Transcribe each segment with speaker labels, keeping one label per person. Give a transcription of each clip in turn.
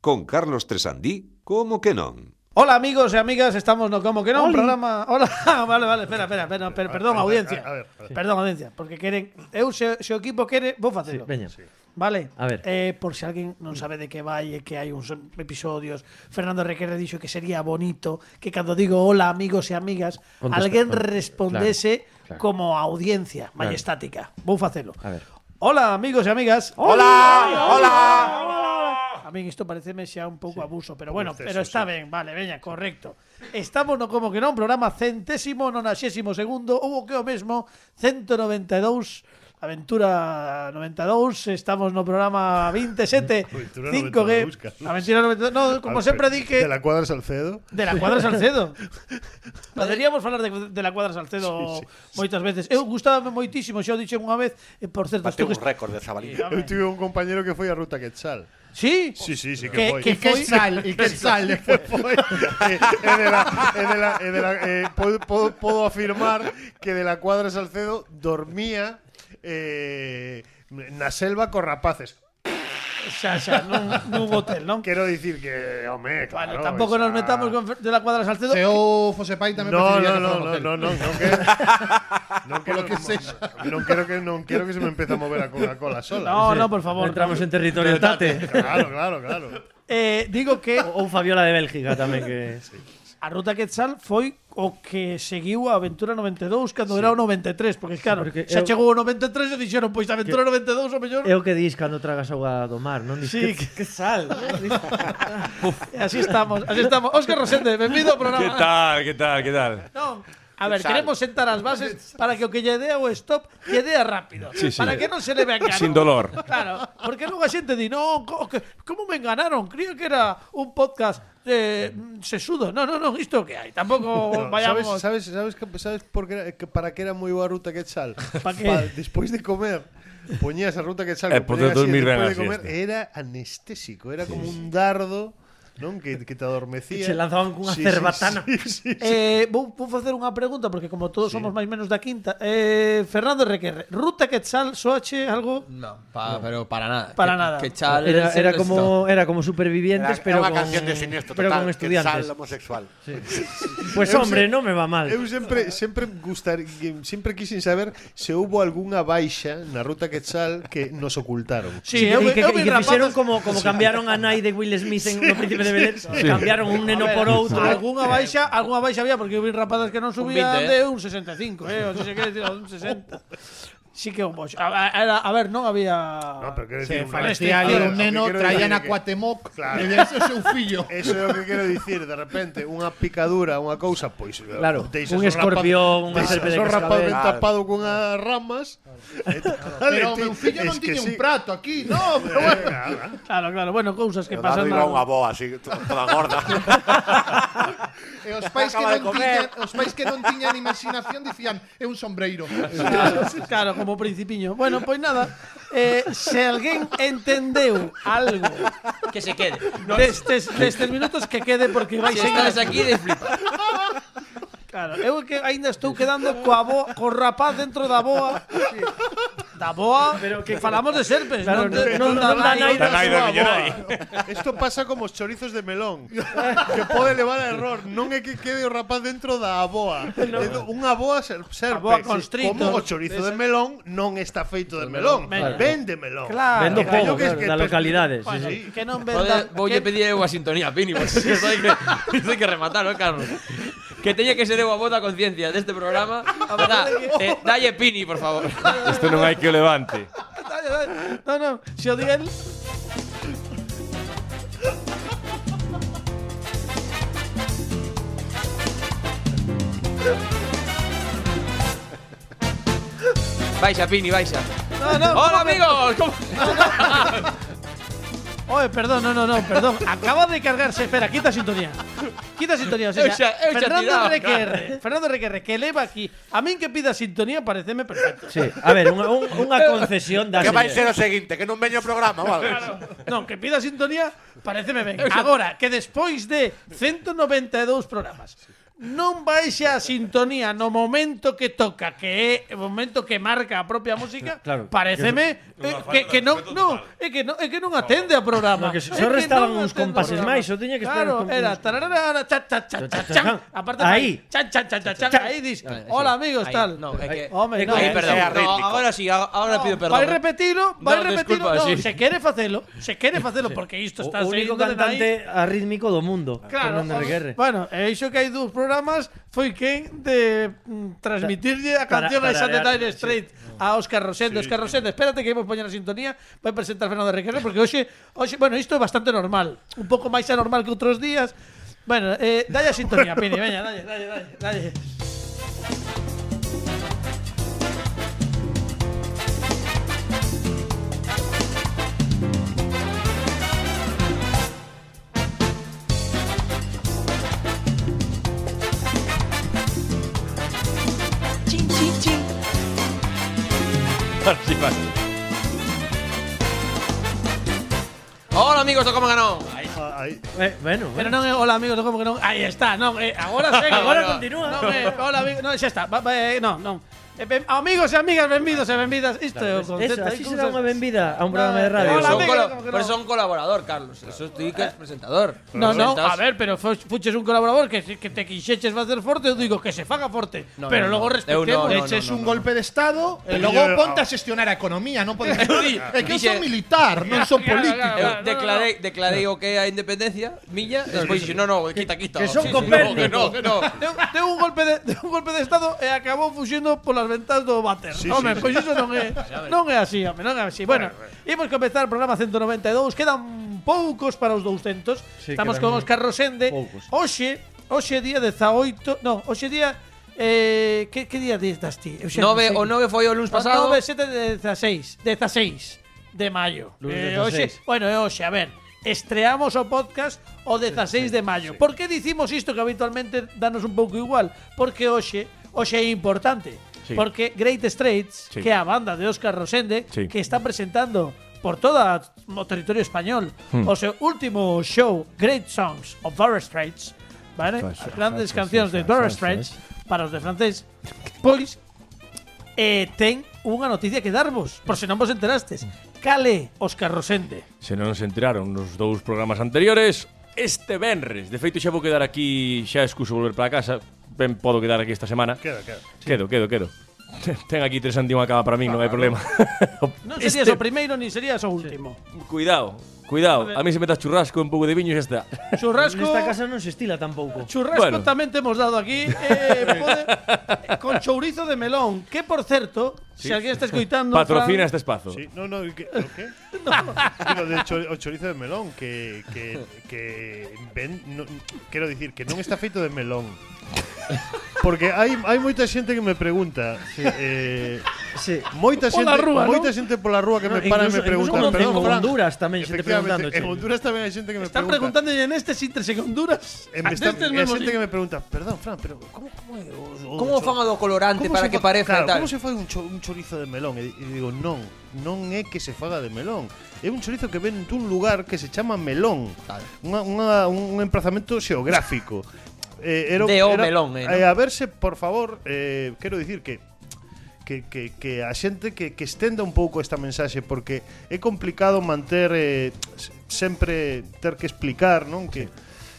Speaker 1: con Carlos Tresandí, como que non?
Speaker 2: Hola amigos e amigas, estamos no como que non,
Speaker 3: Oli.
Speaker 2: programa. Hola, vale, vale, espera, espera, espera, per- perdón
Speaker 3: a ver,
Speaker 2: audiencia.
Speaker 3: a ver, a ver.
Speaker 2: Perdón audiencia, porque queren eu se, se o equipo quere, vou facelo.
Speaker 4: Veña.
Speaker 2: Vale.
Speaker 4: A ver.
Speaker 2: Eh, por si alguén non sabe de que vai e que hai uns episodios, Fernando Requerre dixo que sería bonito que cando digo hola amigos e amigas,
Speaker 4: Contesta-
Speaker 2: alguén
Speaker 4: con-
Speaker 2: respondese
Speaker 4: claro, claro.
Speaker 2: como audiencia majestática. Vou facelo.
Speaker 4: A ver.
Speaker 2: Hola amigos e amigas.
Speaker 5: Hola, hola.
Speaker 2: A min isto pareceme xa un pouco abuso, pero bueno,
Speaker 3: exceso,
Speaker 2: pero está
Speaker 3: sí.
Speaker 2: ben, vale, veña, correcto. Estamos no como que non, programa centésimo, nonaxésimo segundo, ou o que é o mesmo, 192, Aventura 92, estamos no programa 27,
Speaker 3: Aventura
Speaker 2: 5G,
Speaker 3: 92, Carlos.
Speaker 2: Aventura 92, no, como sempre di que...
Speaker 3: De la cuadra Salcedo.
Speaker 2: De la cuadra Salcedo. Poderíamos falar de, de la cuadra Salcedo
Speaker 3: Sí, sí,
Speaker 2: moitas veces. Eu gustábame moitísimo, xa o dixen unha vez, e por certo,
Speaker 5: Bateu
Speaker 2: isto que
Speaker 5: un récord de Zabalía.
Speaker 3: Eu tive un compañero que foi a ruta Quetzal.
Speaker 2: Sí?
Speaker 3: Sí, sí, sí que,
Speaker 2: Que-
Speaker 3: foi.
Speaker 2: que foi-
Speaker 3: sal, e que sal despois foi. E, e de la, e de la, e de la, eh, podo, podo, podo afirmar que de la cuadra Salcedo dormía eh, na selva co rapaces.
Speaker 2: Xa, xa, nun, nun hotel, non?
Speaker 3: Quero dicir que, home,
Speaker 2: Bueno,
Speaker 3: claro.
Speaker 2: tampouco nos
Speaker 3: esa-
Speaker 2: metamos con Fer- de la cuadra Salcedo.
Speaker 6: Se o Fose Pai tamén
Speaker 3: No, no,
Speaker 6: preferiría
Speaker 3: no,
Speaker 6: que fuera
Speaker 3: no,
Speaker 6: hotel.
Speaker 3: no, no, non quero. Non quero
Speaker 6: Polo que sexa.
Speaker 3: Non quero que non quero que se me empece a mover a Coca-Cola sola.
Speaker 2: No, no, por favor.
Speaker 4: Entramos en territorio Tate.
Speaker 3: Claro, claro, claro.
Speaker 2: Eh, digo que
Speaker 4: Ou Fabiola de Bélgica tamén que...
Speaker 2: a ruta Quetzal foi o que seguiu a Aventura 92 cando era o 93, porque claro,
Speaker 4: Porque
Speaker 2: xa
Speaker 4: eu-
Speaker 2: chegou o 93 e dixeron, pois a Aventura 92 o mellor.
Speaker 4: É o que dis cando tragas auga do mar, non? Dis
Speaker 2: Sí,
Speaker 4: que, que sal.
Speaker 2: E así estamos, así estamos. Óscar Rosende, benvido ao programa.
Speaker 7: ¿Qué tal? ¿Qué tal? ¿Qué tal?
Speaker 2: Non. A ver,
Speaker 5: Sal.
Speaker 2: queremos sentar as bases para que o que lle dea o stop lle dea rápido.
Speaker 7: Sí, sí.
Speaker 2: Para que non se leve a caro.
Speaker 7: Sin dolor.
Speaker 2: Claro, porque logo a xente di, non, co- que- como me enganaron? Cría que era un podcast de mm, sesudo. Non, non, non, isto que hai. Tampouco
Speaker 3: No,
Speaker 2: vayamos...
Speaker 3: ¿Sabes, sabes, sabes, que- sabes por qué era- que- para qué era muy buena ruta quetzal?
Speaker 2: ¿Pa qué?
Speaker 3: después de comer, ponías a ruta quetzal.
Speaker 7: Eh,
Speaker 3: que
Speaker 7: pues,
Speaker 3: ponías
Speaker 7: de dormir
Speaker 3: y después
Speaker 7: ben
Speaker 3: de
Speaker 7: a
Speaker 3: comer
Speaker 7: siesta.
Speaker 3: era anestésico, era como un dardo ¿no? que, que te adormecía.
Speaker 4: Que se lanzaban cunha
Speaker 3: Sí, sí,
Speaker 4: cerbatana.
Speaker 3: sí, sí.
Speaker 2: Eh, vou, vou facer unha pregunta porque como todos somos máis menos da quinta. Eh, Fernando Requerre, ruta Quetzal soache algo
Speaker 6: No, pa- pero para nada.
Speaker 2: Para
Speaker 6: Que-
Speaker 2: nada.
Speaker 6: que chal-
Speaker 4: Era,
Speaker 6: ese
Speaker 4: era
Speaker 6: resto.
Speaker 4: como era como supervivientes,
Speaker 5: Era,
Speaker 4: pero
Speaker 5: era una
Speaker 4: con,
Speaker 5: canción de siniestro
Speaker 4: pero
Speaker 5: total,
Speaker 4: con
Speaker 5: que sal
Speaker 4: estudiantes.
Speaker 5: homosexual.
Speaker 4: Pues
Speaker 3: Eu
Speaker 4: hombre,
Speaker 3: se-
Speaker 4: non me va mal.
Speaker 3: Eu sempre sempre gustar sempre quixen saber se houbo algunha baixa na ruta Quetzal que nos ocultaron.
Speaker 2: Sí,
Speaker 4: e que,
Speaker 2: eu vi
Speaker 4: e que
Speaker 2: rapaces-
Speaker 4: fixeron como, como cambiaron a nai de Will Smith en O Príncipe de Belén. Cambiaron un neno por outro.
Speaker 2: Alguna baixa, alguna baixa había porque eu vi rapazas que non subían
Speaker 6: 20, eh.
Speaker 2: de un 65, eh, o sea, quere dicir un 60. Sí que é un bocho. A, a- era- a ver, non había
Speaker 3: No, pero quero
Speaker 6: Se
Speaker 3: dicir,
Speaker 6: falecía ali Este un neno, traían a Cuatemoc,
Speaker 3: Claro.
Speaker 6: e de eso seu fillo.
Speaker 3: Eso é o que quero dicir, de repente, unha picadura, unha cousa, pois... eh,
Speaker 4: Claro,
Speaker 3: deixas
Speaker 4: un
Speaker 3: o rapaz-
Speaker 4: escorpión, unha
Speaker 3: deixas
Speaker 4: serpe de
Speaker 3: o rapaz ben
Speaker 4: cascabel.
Speaker 3: tapado cunhas ramas. eh,
Speaker 6: Pero o meu fillo non tiña un prato aquí, no, pero bueno.
Speaker 2: Claro, claro, bueno, cousas que
Speaker 5: Leonardo
Speaker 2: pasan.
Speaker 5: iba
Speaker 2: na-
Speaker 5: unha boa así, to- toda gorda.
Speaker 6: E os pais que
Speaker 5: Acaba de
Speaker 6: non tiñan, os pais que non tiñan imaginación dicían, é un sombreiro. Eh,
Speaker 2: Claro, claro, como principiño. Bueno, pois nada, eh, se alguén entendeu algo
Speaker 8: Que se quede.
Speaker 2: destes, destes minutos que quede porque vai
Speaker 8: Si
Speaker 2: seguir
Speaker 8: estás aquí, de flipa.
Speaker 2: Claro, eu é que aínda estou quedando coa boa, co rapaz dentro da boa. Da boa, pero que falamos de serpes, non,
Speaker 4: Claro,
Speaker 2: de-
Speaker 4: non-
Speaker 2: non da
Speaker 4: non da
Speaker 2: nai.
Speaker 4: nai.
Speaker 7: La Naida Villaray.
Speaker 3: Isto pasa como os chorizos de melón, que pode levar a error. Non é que quede o rapaz dentro da aboa. É do- Unha aboa ser, serpe.
Speaker 2: Aboa constrictor.
Speaker 3: Como o chorizo de melón non está feito de melón.
Speaker 2: Claro.
Speaker 3: Vende melón.
Speaker 2: Claro.
Speaker 4: Vendo
Speaker 3: Que
Speaker 4: pouco,
Speaker 3: yo que es
Speaker 4: claro,
Speaker 3: que
Speaker 4: da
Speaker 3: te-
Speaker 4: localidade. Sí,
Speaker 2: Bueno,
Speaker 4: sí.
Speaker 2: que non
Speaker 8: Joder,
Speaker 2: venda.
Speaker 8: voulle
Speaker 2: que-
Speaker 8: pedir eu a sintonía, Pini, porque isto hai que, isto hai que rematar, ¿no, Carlos? Que teña que ser eu a voz da conciencia deste programa. Da, eh, dalle Pini, por favor.
Speaker 7: Esto non hai que o levante.
Speaker 2: Dale, dale. No, no, se o di el.
Speaker 8: Baixa, Pini, baixa.
Speaker 2: No, no.
Speaker 8: Hola, amigos. ¿Cómo?
Speaker 2: Oye, perdón, no, no, no, perdón. Acaba de cargarse. Espera, quita sintonía. Quita sintonía. O sea,
Speaker 8: Eu xa- eu xa
Speaker 2: Fernando
Speaker 8: tiraba,
Speaker 2: Requerre. Fernando Requerre, que leva aquí. A min que pida sintonía, pareceme perfecto.
Speaker 4: Sí. A ver, unha, un, unha concesión da
Speaker 5: que vai ser o seguinte, que non veño o programa, vale?
Speaker 2: No, que pida sintonía, pareceme ben. Agora, que despois de 192 programas, non baixe a sintonía no momento que toca, que é o momento que marca a propia música,
Speaker 4: Claro,
Speaker 2: pareceme eh, que, que non, non, é que non, é que non atende ao programa.
Speaker 4: No, que só
Speaker 2: É non
Speaker 4: restaban uns
Speaker 2: atende ao
Speaker 4: compases
Speaker 2: programa.
Speaker 4: máis, só tiña que esperar
Speaker 2: Claro,
Speaker 4: uns com-
Speaker 2: era tararara, cha, cha, cha, cha, chan. Aparte
Speaker 4: Ahí.
Speaker 2: Chan, chan, chan, chan, chan. Aí dis, hola amigos,
Speaker 8: Ahí,
Speaker 2: tal.
Speaker 8: No, é que.
Speaker 2: Home, no, eh,
Speaker 8: Ahí, perdón.
Speaker 5: é
Speaker 8: No,
Speaker 5: arrítmico.
Speaker 8: agora sí, a- agora pido perdón. eh.
Speaker 2: Vai repetilo, vai
Speaker 8: No,
Speaker 2: repetilo.
Speaker 8: desculpa,
Speaker 2: no,
Speaker 8: sí.
Speaker 2: se quere facelo, se quere facelo porque isto
Speaker 4: O
Speaker 2: está saindo
Speaker 4: único
Speaker 2: de nai.
Speaker 4: cantante arrítmico do mundo.
Speaker 2: Claro,
Speaker 4: Fernando Reguerre.
Speaker 2: bueno, e iso que hai dous programas foi quen de mm, transmitirlle a
Speaker 4: Para-
Speaker 2: canción a
Speaker 4: para-
Speaker 2: Saturday
Speaker 4: para-
Speaker 2: Night Straight a Óscar Rosendo. Óscar Rosendo, espérate que vamos poñer a sintonía, vai presentar Fernando Requerre, porque hoxe, hoxe, bueno, isto é bastante normal, un pouco máis anormal que outros días. Bueno, eh, dalle a sintonía, Pini, veña, dalle, dalle, dalle, dalle.
Speaker 9: Chin, chin, chin.
Speaker 7: Sí, vale.
Speaker 8: Hola amigos, do como ganó.
Speaker 3: Ah, ahí.
Speaker 4: Eh, bueno,
Speaker 2: Pero
Speaker 4: bueno.
Speaker 2: non é hola amigos, non como que non. Aí está, non, eh, agora sei,
Speaker 4: Agora
Speaker 2: no.
Speaker 4: continúa.
Speaker 2: Non, eh, hola amigos, non, xa está. Va, va, eh, non, non. Eh, ben- amigos e amigas, benvidos e benvidas. Isto é o
Speaker 4: Eso,
Speaker 2: concepto. hai
Speaker 4: así se dá
Speaker 2: cousas-
Speaker 4: unha benvida a un programa de
Speaker 2: Hola,
Speaker 4: radio.
Speaker 8: Pero son
Speaker 2: amigos,
Speaker 8: colo-
Speaker 2: como que no. Eh.
Speaker 8: Pero son colaborador, Carlos. Eso tú que es presentador.
Speaker 2: No, no,
Speaker 8: Presentas-
Speaker 2: a ver, pero fo- fuches un colaborador que, se- que te quixeches facer forte, eu digo que se faga forte,
Speaker 8: No,
Speaker 2: pero
Speaker 8: no,
Speaker 2: logo
Speaker 8: no.
Speaker 2: respetemos.
Speaker 8: Eu no, no,
Speaker 2: Eh,
Speaker 6: Eches un golpe de Estado e logo
Speaker 3: Yo-
Speaker 6: ponte a xestionar a economía, non podes. É que eu
Speaker 8: Dixe-
Speaker 6: son militar, non son
Speaker 2: claro,
Speaker 6: político.
Speaker 2: claro,
Speaker 8: Eu
Speaker 2: no, no,
Speaker 8: declarei, declarei o que é a independencia miña, despois dixo, no, no, quita, quita.
Speaker 4: que son
Speaker 8: Sí, sí,
Speaker 4: Copérnico.
Speaker 8: que no, que no.
Speaker 2: Deu, deu un golpe de deu un golpe de estado e acabou fuxindo polas ventas do váter.
Speaker 3: Sí,
Speaker 2: home,
Speaker 3: sí,
Speaker 2: pois iso non é non é así, home, non é así. Bueno, imos comezar o programa 192, quedan poucos para os 200.
Speaker 4: Sí,
Speaker 2: Estamos con
Speaker 4: quedan
Speaker 2: Óscar Rosende.
Speaker 4: poucos.
Speaker 2: Hoxe, hoxe día 18, non, hoxe día eh, que, que día das ti? Eu xa non sei.
Speaker 8: Nove, o nove foi o lunes pasado.
Speaker 2: 9, 7, 16, 16 de maio.
Speaker 4: Lunes
Speaker 2: Eh,
Speaker 4: 16.
Speaker 2: hoxe- bueno, é hoxe, a ver, estreamos o podcast o 16 de maio. Por que dicimos isto que habitualmente danos un pouco igual? Porque hoxe, hoxe é importante.
Speaker 7: Sí.
Speaker 2: Porque Great Straits,
Speaker 7: Sí.
Speaker 2: que é a banda de Óscar Rosende,
Speaker 7: Sí.
Speaker 2: que está presentando por todo o territorio español o seu último show Great Songs of Dire Straits, vale? As grandes cancións de Dire Straits para os de francés. Pois eh, ten unha noticia que darvos, por se non vos enterastes. Cale, Óscar Rosende.
Speaker 7: Se non se enteraron nos dous programas anteriores Este venres De feito xa vou quedar aquí Xa excuso volver para casa Ben podo quedar aquí esta semana
Speaker 3: Queda, queda.
Speaker 7: Quedo, quedo, quedo Ten aquí tres ante unha cava para min, non hai problema
Speaker 2: Non serías o primeiro ni serías o último.
Speaker 7: Cuidado, cuidado A mí se metas churrasco, un pouco de viño e xa está
Speaker 2: Churrasco,
Speaker 4: Nesta casa non se estila tampouco.
Speaker 2: churrasco
Speaker 7: Bueno.
Speaker 2: tamén te hemos dado aquí eh, pode- eh, con chourizo de melón, que por certo, se alguén está escoitando
Speaker 7: Patrocina
Speaker 2: Fran,
Speaker 7: este espazo
Speaker 3: Sí, no, no, ¿qué? ¿o qué? Digo, de cho- o chorizo de melón, que, que, que ven, no- quero dicir, que non está feito de melón. Porque hai, hai moita xente que me pregunta eh,
Speaker 4: Sí.
Speaker 3: Moita xente,
Speaker 2: Pola rúa,
Speaker 3: moita
Speaker 2: non?
Speaker 3: xente pola rúa que
Speaker 4: No,
Speaker 3: me para e
Speaker 4: incluso-
Speaker 3: me pregunta,
Speaker 4: incluso en
Speaker 3: perdón, Fran.
Speaker 4: Honduras tamén xente
Speaker 3: Efectivamente,
Speaker 4: preguntando,
Speaker 3: En
Speaker 4: che.
Speaker 3: Honduras tamén hai xente que me
Speaker 2: Están
Speaker 3: pregunta.
Speaker 2: preguntando en este sintres en este Honduras.
Speaker 3: En,
Speaker 2: A
Speaker 4: este
Speaker 3: están, este
Speaker 2: destes
Speaker 3: hai
Speaker 2: mesmos
Speaker 3: xente que me pregunta, perdón, Fran, pero como como é o, o
Speaker 8: Como
Speaker 3: cho-
Speaker 8: fan o do colorante
Speaker 3: como
Speaker 8: para
Speaker 3: se
Speaker 8: que
Speaker 3: fa-
Speaker 8: pareza
Speaker 3: claro,
Speaker 8: e tal?
Speaker 3: Como se fai un, cho, un chorizo de melón? E, e digo, non, non é que se faga de melón. É un chorizo que ven dun lugar que se chama Melón.
Speaker 8: Claro.
Speaker 3: Unha, unha, un emprazamento xeográfico. Eh, era,
Speaker 8: De o
Speaker 3: era-
Speaker 8: melón, eh, non?
Speaker 3: eh, A verse, por favor, eh, quero dicir que que, que, que a xente que, que estenda un pouco esta mensaxe porque é complicado manter eh, s- sempre ter que explicar, non? Que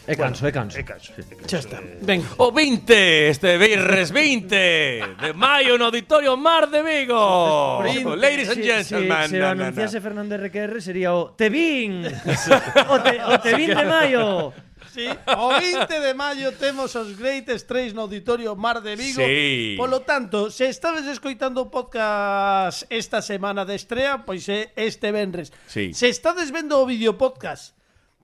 Speaker 4: É canso, é canso.
Speaker 3: É canso. É canso.
Speaker 2: Xa está.
Speaker 3: eh,
Speaker 2: Venga.
Speaker 7: O 20, este Beirres 20 De maio no Auditorio Mar de Vigo Ladies and gentlemen
Speaker 4: Se, se
Speaker 7: na, na, na.
Speaker 4: anunciase Fernández Requerre sería o Te vin. o, te, o te vin de maio.
Speaker 2: Sí, o 20 de maio temos os Great Straits no Auditorio Mar de Vigo.
Speaker 7: Sí.
Speaker 2: Polo tanto, se estades escoitando o podcast esta semana de estrea, pois é este venres.
Speaker 7: Sí.
Speaker 2: Se estades vendo o vídeo podcast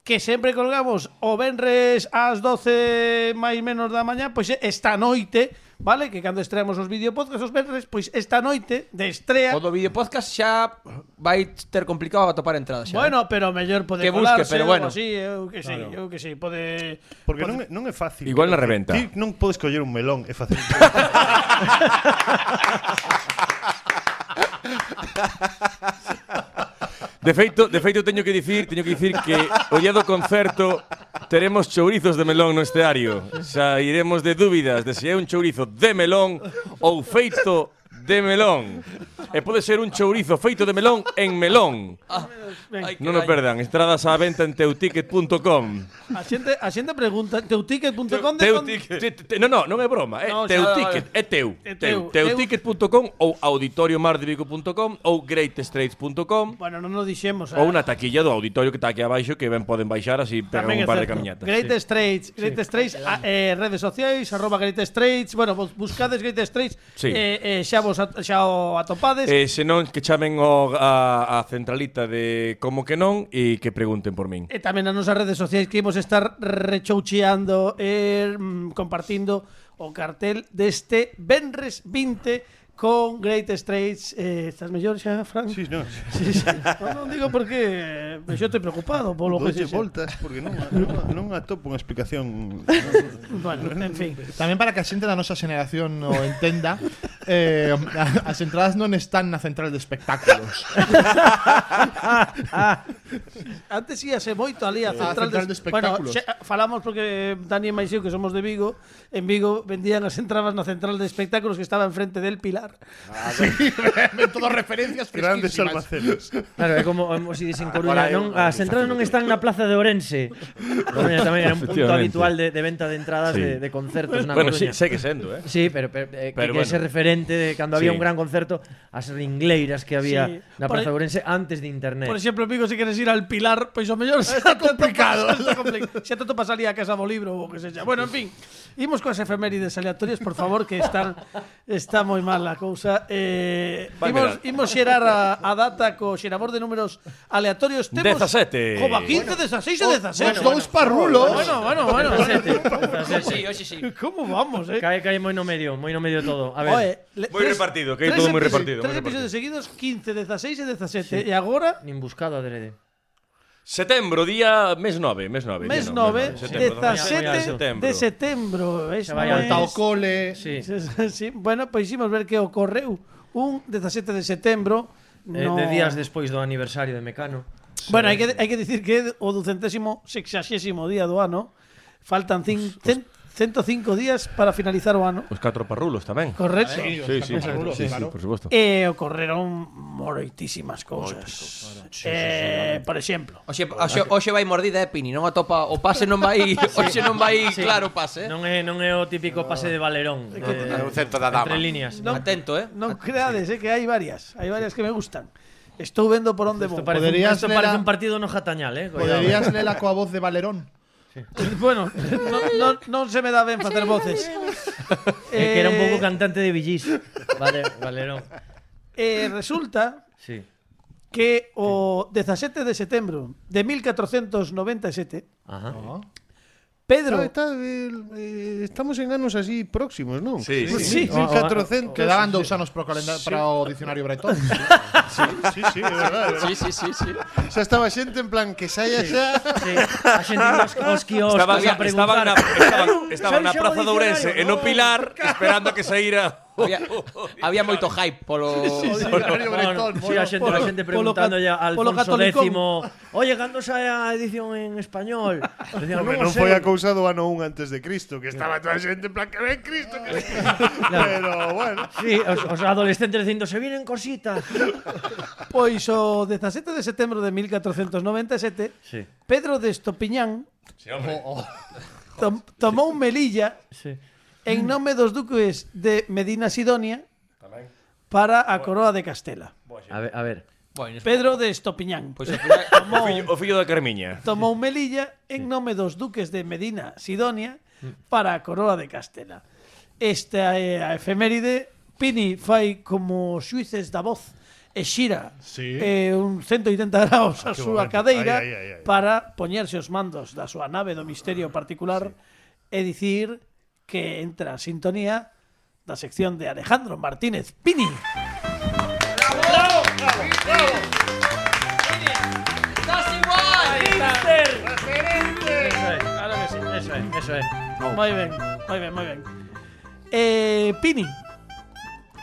Speaker 2: que sempre colgamos o venres ás 12 máis menos da mañá, pois é esta noite, vale? Que cando estreamos os vídeo podcast os venres, pois esta noite de estrea.
Speaker 8: O do videopodcast xa vai ter complicado atopar entradas xa.
Speaker 2: Bueno, pero mellor pode
Speaker 8: eh? Que busque,
Speaker 2: colarse
Speaker 8: pero
Speaker 2: ou
Speaker 8: bueno.
Speaker 2: así, eu que sei, eu que sei, pode
Speaker 3: Porque non, é- non é fácil.
Speaker 7: Igual na reventa.
Speaker 3: Ti non podes coller un melón, é fácil.
Speaker 7: De feito, de feito teño que dicir, teño que dicir que o día do concerto Teremos chourizos de melón no esteario. Sairemos de dúbidas de se é un chourizo de melón ou feito de melón. E pode ser un chourizo feito de melón en melón.
Speaker 4: Ah,
Speaker 8: Ai, que
Speaker 7: Non o
Speaker 8: daño.
Speaker 7: perdan, entradas á venta en teuticket.com.
Speaker 2: A xente, a xente pregunta, teuticket.com de con-
Speaker 7: Teuticket. Te- te- No, no, non é broma, é
Speaker 8: No, xa,
Speaker 7: Teuticket, é teu.
Speaker 2: É
Speaker 7: teu.
Speaker 2: teu.
Speaker 7: Teuticket.com ou auditoriomardevico.com ou greatstraits.com
Speaker 2: Bueno, non nos dixemos. eh,
Speaker 7: ou na taquilla do auditorio que está aquí abaixo que ben poden baixar así pegan un par de camiñatas.
Speaker 2: Great Straits, Great Straits, a- eh, redes sociais, arroba Great Straits, bueno, vos buscades Great Straits,
Speaker 7: Sí.
Speaker 2: eh, eh, xa vos a- xa o atopades.
Speaker 7: Eh, senón que chamen o, a, a centralita de como que non e que pregunten por min.
Speaker 2: E tamén nas nosas redes sociais que imos estar rechoucheando e mm, compartindo o cartel deste Benres 20 con Great Straits. Eh, estás mellor xa, Fran?
Speaker 3: Sí, no.
Speaker 2: sí, sí. No, non digo porque eh, yo estoy preocupado por lo que se
Speaker 3: Dolle voltas porque non, non, non atopo unha explicación.
Speaker 2: Bueno, en fin.
Speaker 6: Tamén para que a xente da nosa xeración o entenda eh, a- As entradas non están na central de espectáculos
Speaker 2: Antes íase moito ali a
Speaker 6: A
Speaker 2: central,
Speaker 6: central de espectáculos.
Speaker 2: Bueno, xe- falamos porque eh, Dani e Maiseu, que somos de Vigo, en Vigo vendían as entradas na central de espectáculos que estaba enfrente del Pilar.
Speaker 6: Todo referencias
Speaker 3: Grandes
Speaker 6: fresquísimas
Speaker 3: almacenes.
Speaker 4: Claro, é como como si dicen Coruña,
Speaker 5: Agora é
Speaker 4: non,
Speaker 5: unha
Speaker 4: as entradas non están na plaza de Ourense. Coruña tamén era un punto
Speaker 7: Efectivamente.
Speaker 4: habitual de, de venta de entradas
Speaker 7: Sí.
Speaker 4: de, de concertos na
Speaker 7: Bueno, sí,
Speaker 4: Coruña.
Speaker 7: sei que sendo, eh.
Speaker 4: Sí, pero, pero, eh,
Speaker 7: Pero
Speaker 4: que, que ese
Speaker 7: bueno.
Speaker 4: referente de cando había
Speaker 7: Sí.
Speaker 4: un gran concerto, as ringleiras que había
Speaker 2: Sí.
Speaker 4: na
Speaker 2: Por
Speaker 4: Plaza
Speaker 2: e-
Speaker 4: Ourense antes de internet.
Speaker 2: Por exemplo, en Vigo, se queres ir al Pilar, pois o mellor está complicado. Está complicado. Se tanto pasaría a casa do libro ou o que sexa. Bueno, en fin, imos coas efemérides aleatorias, por favor, que están está moi mal a cousa. Eh,
Speaker 7: Vai
Speaker 2: imos,
Speaker 7: mirar.
Speaker 2: imos xerar a, a data co xerador de números aleatorios.
Speaker 7: 17.
Speaker 2: Jova, 15, 16 e 17.
Speaker 6: Os dous parrulos
Speaker 2: Bueno, bueno, bueno.
Speaker 8: Hoxe sí, hoxe sí.
Speaker 2: Como vamos, eh?
Speaker 4: Cae, cae moi no medio, moi no medio todo. A ver.
Speaker 2: Oe, le-
Speaker 7: Moi
Speaker 2: tres-
Speaker 7: repartido, que hai
Speaker 2: tres
Speaker 7: todo moi
Speaker 2: episodios-
Speaker 7: repartido, moi
Speaker 2: Tres
Speaker 7: repartido.
Speaker 2: episodios seguidos, 15, 16 e 17.
Speaker 4: Sí.
Speaker 2: E agora,
Speaker 4: Nin buscado adrede.
Speaker 7: Setembro, día mes 9, mes 9.
Speaker 2: mes 9,
Speaker 4: Setembro,
Speaker 2: 17 de setembro. Es,
Speaker 4: Se vai
Speaker 2: no
Speaker 4: al
Speaker 2: es-
Speaker 6: Falta o cole
Speaker 4: Sí.
Speaker 2: Sí, sí, sí. Bueno, pois imos ver que ocorreu un 17 de setembro.
Speaker 4: Eh,
Speaker 2: no-
Speaker 4: de días despois do aniversario de Mecano.
Speaker 2: Bueno, hai que, hai que dicir que é o ducentésimo sexaxésimo día do ano. Faltan cin, cen- 105 días para finalizar o ano.
Speaker 7: Os catro parrulos tamén.
Speaker 2: Correcto.
Speaker 7: Sí, sí, sí, sí, sí, por supuesto.
Speaker 2: E ocorreron moroitísimas cousas. Eh, por exemplo,
Speaker 8: Oxe, oxe, oxe vai mordida, eh, Pini, non atopa o pase non vai, oxe non vai claro o pase. eh.
Speaker 4: Non é non é o típico pase de Valerón. eh,
Speaker 5: É un centro da dama.
Speaker 4: entre líneas.
Speaker 2: non-
Speaker 8: Atento, eh.
Speaker 2: non creades, eh, que hai varias, hai varias que me gustan. Estou vendo por onde vou.
Speaker 4: Isto parece, un,
Speaker 6: Poderías
Speaker 4: isto
Speaker 6: ler a-
Speaker 4: parece un partido no jatañal, eh. Cuidado.
Speaker 6: Poderías lela coa voz de Valerón
Speaker 2: Bueno, non, non, non se me dá ben facer voces.
Speaker 4: É que era un
Speaker 2: Eh,
Speaker 4: pouco cantante de Villis. Vale, Valerón.
Speaker 2: Eh, resulta
Speaker 4: Sí.
Speaker 2: que o 17 de setembro de 1497,
Speaker 4: Ajá.
Speaker 2: Pedro...
Speaker 3: eh, estamos en anos así próximos, non?
Speaker 7: Sí, sí.
Speaker 2: Sí,
Speaker 6: No,
Speaker 3: 1400.
Speaker 6: Quedaban dous anos pro calenda- para o dicionario bretón
Speaker 3: Sí, sí, é verdade.
Speaker 8: Sí, sí, sí, sí.
Speaker 3: Xa estaba xente en plan que saia xa.
Speaker 4: Sí. A xente nos os kioscos a
Speaker 7: Estaban, estaban
Speaker 4: preguntar.
Speaker 7: na, estaban, estaban
Speaker 4: Xa-
Speaker 7: na
Speaker 4: xa
Speaker 7: Praza
Speaker 4: o
Speaker 7: de Ourense
Speaker 4: dicionario,
Speaker 7: e no Pilar esperando a que saíra
Speaker 8: Había, había moito hype polo...
Speaker 4: Bueno, sí, a xente, a xente
Speaker 2: polo-
Speaker 4: preguntando ya a
Speaker 2: polo
Speaker 4: Alfonso X
Speaker 2: catolicón.
Speaker 4: Oye, cando sae a edición en español? Decían,
Speaker 3: Home,
Speaker 4: o
Speaker 3: non
Speaker 4: sei".
Speaker 3: foi a cousa do ano 1 antes de Cristo, que estaba toda a xente en plan que ven Cristo, que ven Cristo. Pero bueno,
Speaker 4: Sí, os, os adolescentes dicindo se vienen cositas.
Speaker 2: Pois o 17 de setembro de 1497,
Speaker 4: Sí,
Speaker 2: Pedro de Estopiñán
Speaker 6: O- o-
Speaker 2: tom- tomou Melilla
Speaker 4: sí.
Speaker 2: en nome dos duques de Medina Sidonia para a coroa de Castela.
Speaker 4: A ver, a ver.
Speaker 8: Bueno,
Speaker 2: Pedro de Estopiñán
Speaker 8: pois ao final...
Speaker 7: o fillo, o fillo da Carmiña.
Speaker 2: tomou Melilla en nome dos duques de Medina Sidonia para a coroa de Castela. Esta é a efeméride. Pini fai como os xuíces da voz e xira
Speaker 3: Sí.
Speaker 2: eh, un 180 grados a
Speaker 3: que
Speaker 2: súa
Speaker 3: momento.
Speaker 2: cadeira
Speaker 3: Ai, ai, ai, ai.
Speaker 2: para poñerse os mandos da súa nave do misterio particular e dicir que entra a sintonía da sección de Alejandro Martínez Pini.
Speaker 8: ¡Estás igual!
Speaker 4: Claro que sí, eso é, eso é.
Speaker 2: Moi ben, moi ben, moi ben. Eh, Pini,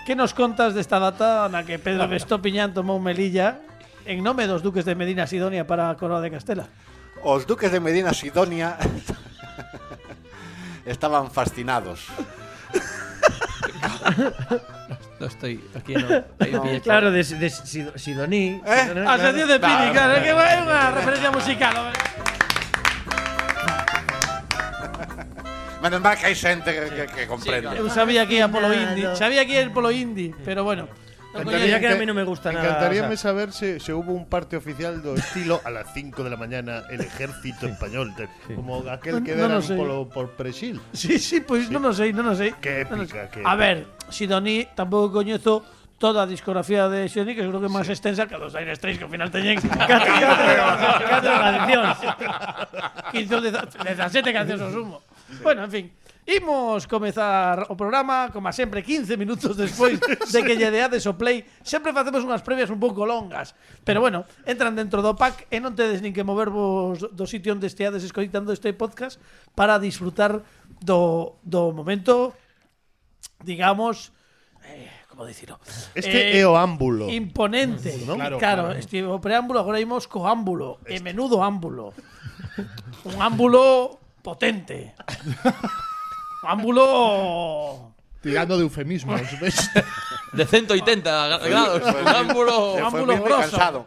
Speaker 2: que nos contas desta data na que Pedro de Estopiñán tomou Melilla en nome dos duques de Medina Sidonia para a coroa de Castela?
Speaker 5: Os duques de Medina Sidonia estaban fascinados.
Speaker 8: No estoy aquí, no. Ahí pilla.
Speaker 4: Claro, de, de Sid- Sidoní. Sidoní,
Speaker 2: Eh, A
Speaker 4: claro.
Speaker 2: sección de Pini, claro, es que es una referencia musical. hombre.
Speaker 5: Menos mal que hay gente que, que- que comprende.
Speaker 2: Eu sabía que era polo
Speaker 4: Nada.
Speaker 2: indie, sabía que era polo indie, pero bueno.
Speaker 4: No, coño, ya que a mí no me gusta nada.
Speaker 3: Encantaríame
Speaker 4: o sea,
Speaker 3: saber se, se hubo un parte oficial do estilo a las 5 de la mañana el ejército español, de- como aquel que
Speaker 2: No, no
Speaker 3: deran
Speaker 2: lo sé.
Speaker 3: por, por Presil.
Speaker 2: Sí, sí, pues, pois non o sei, non o sei.
Speaker 3: Qué
Speaker 2: Non o
Speaker 3: épica,
Speaker 2: sei.
Speaker 3: qué
Speaker 2: A ver, Sidoní tampouco coñezo toda a discografía de Sidoní, que seguro que é máis extensa que a dos Aires 3, que ao final teñen 4 cancións. 15 ou 17 cancións ao sumo. Bueno, en fin. Imos comezar o programa, como a sempre, 15 minutos despois de que lle deades o play. Sempre facemos unhas previas un pouco longas, pero bueno, entran dentro do pack e non tedes nin que movervos do sitio onde esteades escoitando este podcast para disfrutar do, do momento, digamos, eh, como dicirlo? Eh,
Speaker 3: Este é o ámbulo.
Speaker 2: Imponente. Claro, claro, este o preámbulo, agora imos co ámbulo, e menudo ámbulo. Un ámbulo potente. Un ámbulo
Speaker 6: Tirando de eufemismos. ¿ves?
Speaker 8: De 180 gra- grados. Un
Speaker 5: Se
Speaker 8: ángulo.
Speaker 5: fue
Speaker 2: ámbulo
Speaker 5: muy
Speaker 2: grosso.
Speaker 5: cansado.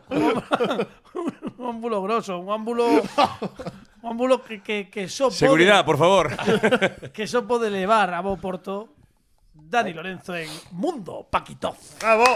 Speaker 2: un ámbulo grosso, un ámbulo un ámbulo que que que só pode-
Speaker 7: Seguridad, Ah, por favor.
Speaker 2: que só pode levar a bo porto Dani Lorenzo en Mundo Paquitov.
Speaker 3: ¡Bravo!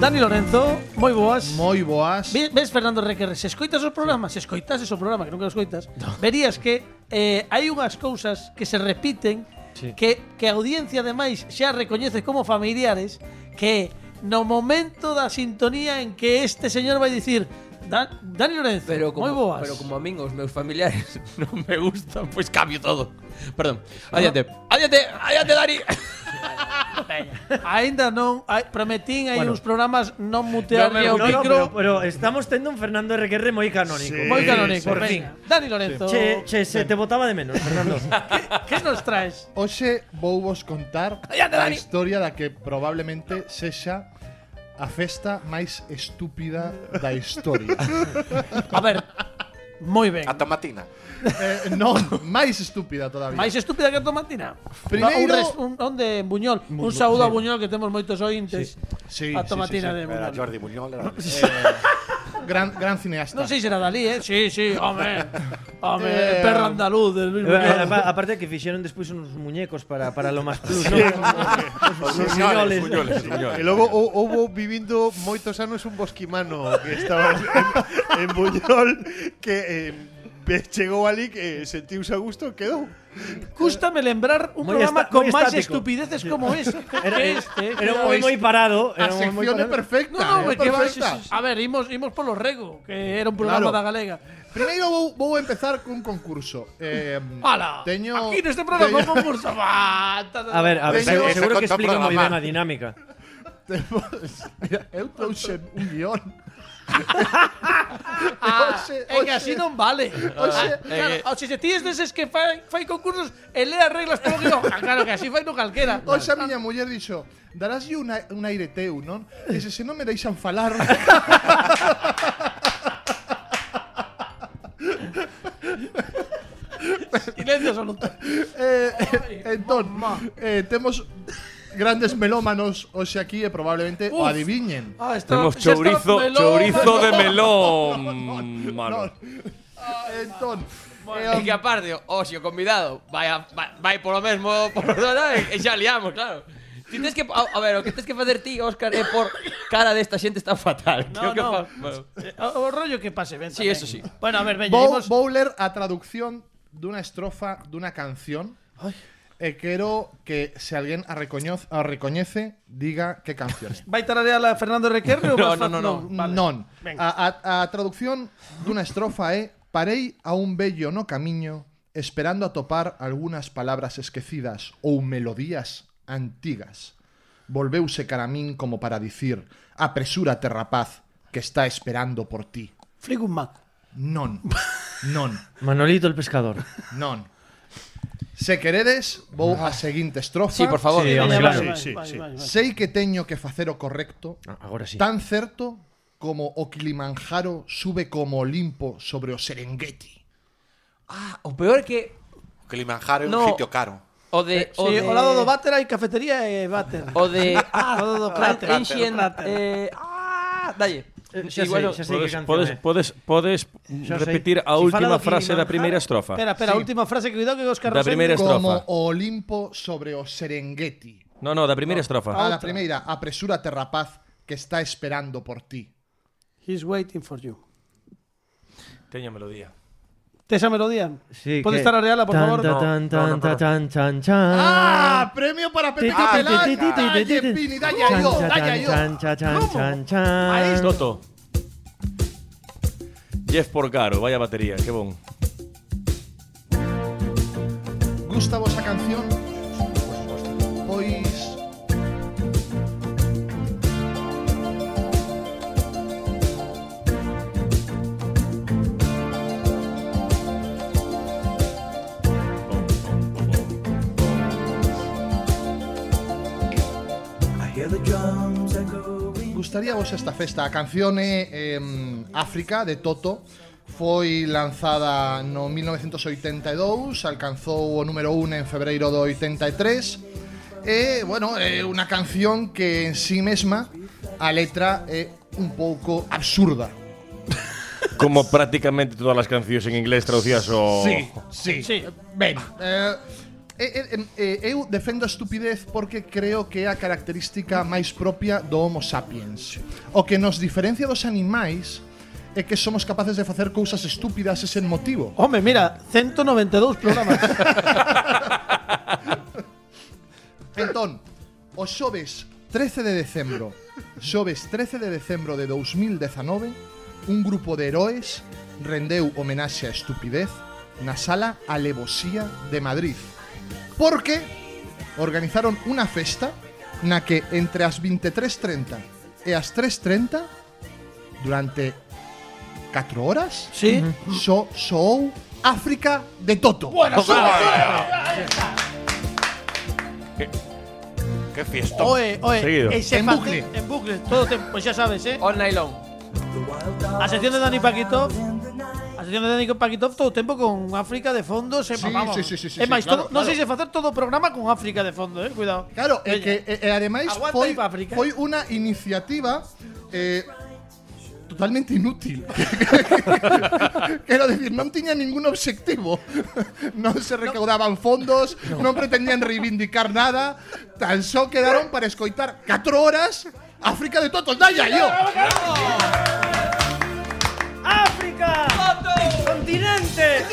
Speaker 2: Dani Lorenzo, moi boas.
Speaker 6: Muy boas.
Speaker 2: Ve- Ves, Fernando Requerre, se escoitas os programas, se escoitas o programa que nunca os escoitas, verías que eh, hai unhas cousas que se repiten
Speaker 8: Sí.
Speaker 2: que, que a audiencia ademais xa recoñece como familiares que no momento da sintonía en que este señor vai dicir "Dan- Dani Lorenzo,
Speaker 8: Pero como,
Speaker 2: moi boas.
Speaker 8: pero como a min os meus familiares non me gustan, pois cambio todo. Perdón. Adiante. Adiante, adiante, Dani.
Speaker 2: Ainda non, ai, prometín hai
Speaker 4: Bueno.
Speaker 2: uns programas non
Speaker 8: No me
Speaker 2: mutearlle
Speaker 8: gusta.
Speaker 2: o
Speaker 4: no, no,
Speaker 2: micro,
Speaker 4: pero, pero estamos tendo un Fernando RQR moi canónico.
Speaker 3: Sí.
Speaker 2: moi canónico,
Speaker 4: Eh, por
Speaker 2: veña.
Speaker 4: fin.
Speaker 2: Dani Lorenzo,
Speaker 4: Che, che, se te botaba de menos, Fernando.
Speaker 2: que nos traes?
Speaker 6: Hoxe vou vos contar
Speaker 2: Adiante,
Speaker 6: a
Speaker 2: Dani.
Speaker 6: historia da que probablemente sexa a festa máis estúpida da historia.
Speaker 2: A ver, moi ben.
Speaker 5: A tomatina.
Speaker 6: eh, non, máis estúpida todavía.
Speaker 2: Máis estúpida que a tomatina.
Speaker 6: Primeiro-
Speaker 2: un, res, un onde en Buñol, un saúdo a Buñol que temos moitos ointes.
Speaker 6: Sí,
Speaker 2: a
Speaker 6: sí,
Speaker 2: tomatina
Speaker 6: sí, sí.
Speaker 2: de
Speaker 5: Era
Speaker 2: Buñol.
Speaker 5: Jordi Buñol. era-
Speaker 6: Gran, gran cineasta.
Speaker 2: Non sei se era Dalí, eh? Sí, sí, home. Home, eh,
Speaker 6: Eh,
Speaker 2: perro andaluz de Luis Buñol.
Speaker 4: Apa- Aparte que fixeron despois uns muñecos para, para lo más plus, ¿no? Os buñoles.
Speaker 7: Buñoles, buñoles.
Speaker 3: E logo hou- houbo vivindo moitos anos un bosquimano que estaba en, en Buñol que eh, ve- chegou ali que sentiuse a gusto e quedou.
Speaker 2: Cústame lembrar un
Speaker 4: Moi
Speaker 2: programa
Speaker 4: esta-
Speaker 2: con
Speaker 4: moi
Speaker 2: máis
Speaker 4: estático.
Speaker 2: estupideces como este.
Speaker 4: Era,
Speaker 2: que este.
Speaker 4: era un moi moi parado.
Speaker 6: A
Speaker 4: Era un moi
Speaker 6: sección é
Speaker 4: parado.
Speaker 2: No,
Speaker 6: perfecta.
Speaker 2: no,
Speaker 6: é
Speaker 2: porque va,
Speaker 6: perfecta.
Speaker 2: a ver, imos, imos polo rego, que era un programa
Speaker 6: Claro.
Speaker 2: da galega.
Speaker 6: Primeiro vou, vou empezar cun concurso. Eh,
Speaker 2: Ala,
Speaker 6: teño,
Speaker 2: aquí neste programa
Speaker 6: teño-
Speaker 2: con concurso. Va, ta, ta, ta.
Speaker 4: A ver, a ver,
Speaker 6: Venga,
Speaker 4: seguro,
Speaker 5: ese
Speaker 4: seguro que
Speaker 5: conta
Speaker 4: explica moi ben a
Speaker 5: programar.
Speaker 4: dinámica.
Speaker 6: Mira, eu trouxe un guión.
Speaker 2: Ah,
Speaker 6: Oxe,
Speaker 2: é que así
Speaker 6: oxe.
Speaker 2: non vale. Oxe, claro,
Speaker 8: eh,
Speaker 2: oxe, se tíes deses que fai, fai concursos e lea reglas polo guión, ah, claro que así fai no calquera.
Speaker 6: Hoxe a miña muller dixo Darás yo un, ai- un aire teu, non? Dixe, se non me deixan falar
Speaker 2: Silencio absoluto.
Speaker 6: eh, eh, Entón, eh, temos grandes melómanos hoxe aquí E probablemente o
Speaker 2: Uf.
Speaker 6: adivinen
Speaker 2: Ah, está,
Speaker 7: Tenemos
Speaker 2: xa está
Speaker 7: chorizo,
Speaker 2: melón.
Speaker 7: chorizo de melón, mano.
Speaker 6: Non. Entón, eh,
Speaker 8: É que aparte, o si o convidado vai, a, vai, vai polo mesmo por e xa liamos, claro. Ti tens que a, a ver, o que tens que facer ti, Óscar, é por cara desta xente está fatal.
Speaker 2: No,
Speaker 8: Que o que
Speaker 2: no.
Speaker 8: fa- bueno.
Speaker 2: Eh, O, o rollo que pase ben
Speaker 8: Sí,
Speaker 2: tamén.
Speaker 8: eso sí.
Speaker 2: Bueno, a ver, veña,
Speaker 6: vou,
Speaker 2: imos...
Speaker 6: vou ler a traducción dunha estrofa dunha canción E quero que se alguén a, recoñoz, a recoñece Diga que canción é
Speaker 2: Vai tararear a Fernando Requerre ou
Speaker 8: No,
Speaker 2: vas
Speaker 8: no,
Speaker 2: fa-
Speaker 8: no, no.
Speaker 2: vale.
Speaker 6: Non.
Speaker 2: Venga.
Speaker 6: A, a, a traducción dunha estrofa é Parei a un bello no camiño esperando a topar algunhas palabras esquecidas ou melodías antigas. Volveuse cara a min como para dicir Apresúrate, rapaz, que está esperando por ti.
Speaker 2: Flick un maco.
Speaker 6: Non. Non.
Speaker 4: Manolito el pescador.
Speaker 6: Non. Se queredes, vou a seguinte estrofa.
Speaker 8: Ah. Sí, por favor.
Speaker 4: Sí,
Speaker 2: Vale,
Speaker 4: home, claro.
Speaker 2: vale,
Speaker 3: Sí,
Speaker 2: vale,
Speaker 3: sí,
Speaker 2: vale, vale.
Speaker 6: Sei que teño que facer o correcto,
Speaker 8: Ah.
Speaker 4: Agora sí.
Speaker 6: tan certo como o Kilimanjaro sube como Olimpo sobre o Serengeti.
Speaker 8: Ah, O peor é que
Speaker 5: Kilimanjaro é un
Speaker 8: No.
Speaker 5: sitio caro.
Speaker 8: o de
Speaker 2: Sí,
Speaker 8: o Oh, de Oh,
Speaker 2: ao lado do váter hai cafetería e váter.
Speaker 8: o de
Speaker 2: Ah, ao lado do
Speaker 8: Crat-
Speaker 2: cráter.
Speaker 8: Ancient
Speaker 2: Cráter.
Speaker 8: eh ah, dalle.
Speaker 4: Eh, xa
Speaker 8: Sí,
Speaker 4: sei,
Speaker 8: bueno,
Speaker 4: xa sei que
Speaker 7: Podes,
Speaker 4: canción
Speaker 7: podes,
Speaker 4: é.
Speaker 7: podes, podes
Speaker 4: Xa sei.
Speaker 7: repetir
Speaker 4: Si
Speaker 7: a
Speaker 4: fala
Speaker 7: última
Speaker 4: do
Speaker 7: frase da
Speaker 4: Kilimanjaro-
Speaker 7: primeira estrofa.
Speaker 2: Espera, espera, última frase que cuidado que Óscar
Speaker 7: Da
Speaker 2: Rosell-
Speaker 7: primeira estrofa.
Speaker 6: Como o Olimpo sobre o Serengeti.
Speaker 7: No, no, da primeira estrofa.
Speaker 6: A la primeira, apresúrate rapaz que está esperando por ti.
Speaker 2: He's waiting for you.
Speaker 7: Teño melodía.
Speaker 2: Tes a melodía?
Speaker 4: Sí,
Speaker 2: Podes
Speaker 4: que-
Speaker 2: tarareala, por
Speaker 4: Tan,
Speaker 2: favor?
Speaker 4: ta,
Speaker 2: No.
Speaker 4: tan,
Speaker 7: No, no,
Speaker 4: tan,
Speaker 7: no,
Speaker 4: ta,
Speaker 7: no.
Speaker 4: tan, chan, chan.
Speaker 6: ¡Ah! ¡Premio para Pepe
Speaker 4: Ti, ti,
Speaker 6: Capelán!
Speaker 4: ti, ti, ti,
Speaker 6: ¡Dalle,
Speaker 4: ti, ti, ti.
Speaker 6: Pini, dalle
Speaker 4: Chan,
Speaker 6: a yo,
Speaker 4: cha,
Speaker 6: dalle a
Speaker 4: chan,
Speaker 6: yo!
Speaker 4: chan, cha, chan,
Speaker 2: ¿Cómo?
Speaker 4: chan, chan.
Speaker 7: Toto. Jeff Porcaro, vaya batería, qué bon.
Speaker 6: Gustavo esa canción? Pois Gustaría vos esta festa A canción é em, África de Toto Foi lanzada no 1982 e Alcanzou o número 1 en febreiro do e 83 E, Eh, bueno, é unha canción que en sí mesma A letra é un pouco absurda
Speaker 7: Como prácticamente todas las canciones en inglés traducidas o...
Speaker 6: Sí, sí.
Speaker 2: Sí.
Speaker 6: Ben, eh, eh, eh, eh, eu defendo a estupidez porque creo que é a característica máis propia do Homo sapiens. O que nos diferencia dos animais é que somos capaces de facer cousas estúpidas e sen motivo.
Speaker 2: Home, mira, 192 programas.
Speaker 6: Entón, o xoves 13 de decembro Xoves 13 de decembro de 2019 Un grupo de heroes rendeu homenaxe a estupidez Na sala Alevosía de Madrid Porque organizaron unha festa Na que entre as 23.30 e as 3.30 Durante 4 horas
Speaker 2: Sí.
Speaker 6: so, Soou África de Toto Bueno,
Speaker 5: Que fiesta.
Speaker 2: Oe, oe,
Speaker 7: Seguido.
Speaker 2: e se
Speaker 6: En
Speaker 2: face-
Speaker 6: bucle.
Speaker 2: En bucle, todo te, pues ya sabes, ¿eh?
Speaker 8: All night long.
Speaker 2: A sección de Dani Paquitov. A sección de Dani Paquitov todo o tempo con África de fondo, se
Speaker 6: Sí,
Speaker 2: vamos.
Speaker 6: sí, sí, sí, sí,
Speaker 2: é máis,
Speaker 6: claro,
Speaker 2: todo, non
Speaker 6: claro.
Speaker 2: sei se facer todo o programa con África de fondo, eh, cuidado.
Speaker 6: Claro,
Speaker 2: Veña.
Speaker 6: é que e, e ademais
Speaker 2: Aguanta
Speaker 6: foi,
Speaker 2: aí pa África.
Speaker 6: foi unha iniciativa eh, totalmente inútil. Quero decir, non tiña ningún obxectivo. Non se recaudaban fondos, non pretendían reivindicar nada, tan só quedaron para escoitar 4 horas África de Totos, dalla yo.
Speaker 2: África! Continente!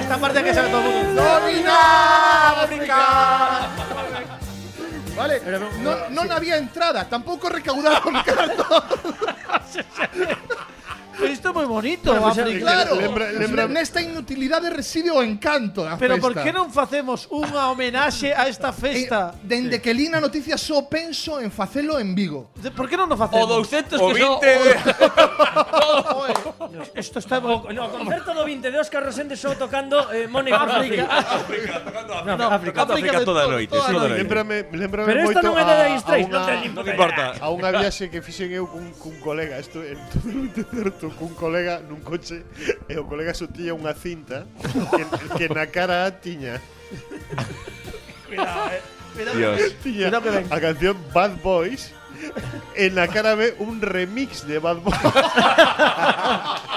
Speaker 2: Esta parte que sabe todo o mundo.
Speaker 6: Vale, non, non había entrada, tampouco recaudaron cartos.
Speaker 2: Pero isto é moi bonito, África.
Speaker 6: Claro,
Speaker 3: Lembra- lembra-
Speaker 6: nesta inutilidade reside o encanto da
Speaker 2: Pero
Speaker 6: festa.
Speaker 2: por que non facemos unha homenaxe a esta festa?
Speaker 6: Eh, dende que li na noticia só penso en facelo en Vigo.
Speaker 2: De- Por que non o
Speaker 8: O
Speaker 2: facemos?
Speaker 8: 200
Speaker 7: O
Speaker 8: que son
Speaker 7: 20 de-
Speaker 2: Esto está bo-
Speaker 4: No, concerto do 20 de Óscar Rosende só tocando eh, Money for
Speaker 2: África.
Speaker 4: No, África.
Speaker 7: África
Speaker 2: de
Speaker 7: toda
Speaker 2: todo-
Speaker 7: noite,
Speaker 2: toda
Speaker 7: toda noite.
Speaker 3: Lembrame, lembrame
Speaker 4: Pero esta non é
Speaker 3: moito a-
Speaker 4: de Dire Straits,
Speaker 3: a
Speaker 4: non
Speaker 3: unha-
Speaker 4: ten nin
Speaker 7: No
Speaker 4: puta idea.
Speaker 7: me importa.
Speaker 3: A unha viaxe que fixen eu cun, cun colega Isto é totalmente certo Cun colega nun coche E o colega só tiña unha cinta que, que na cara a tiña
Speaker 7: Dios.
Speaker 3: Tiña
Speaker 2: Cuidado que ven.
Speaker 3: a canción Bad Boys E na cara ve un remix de Bad Boys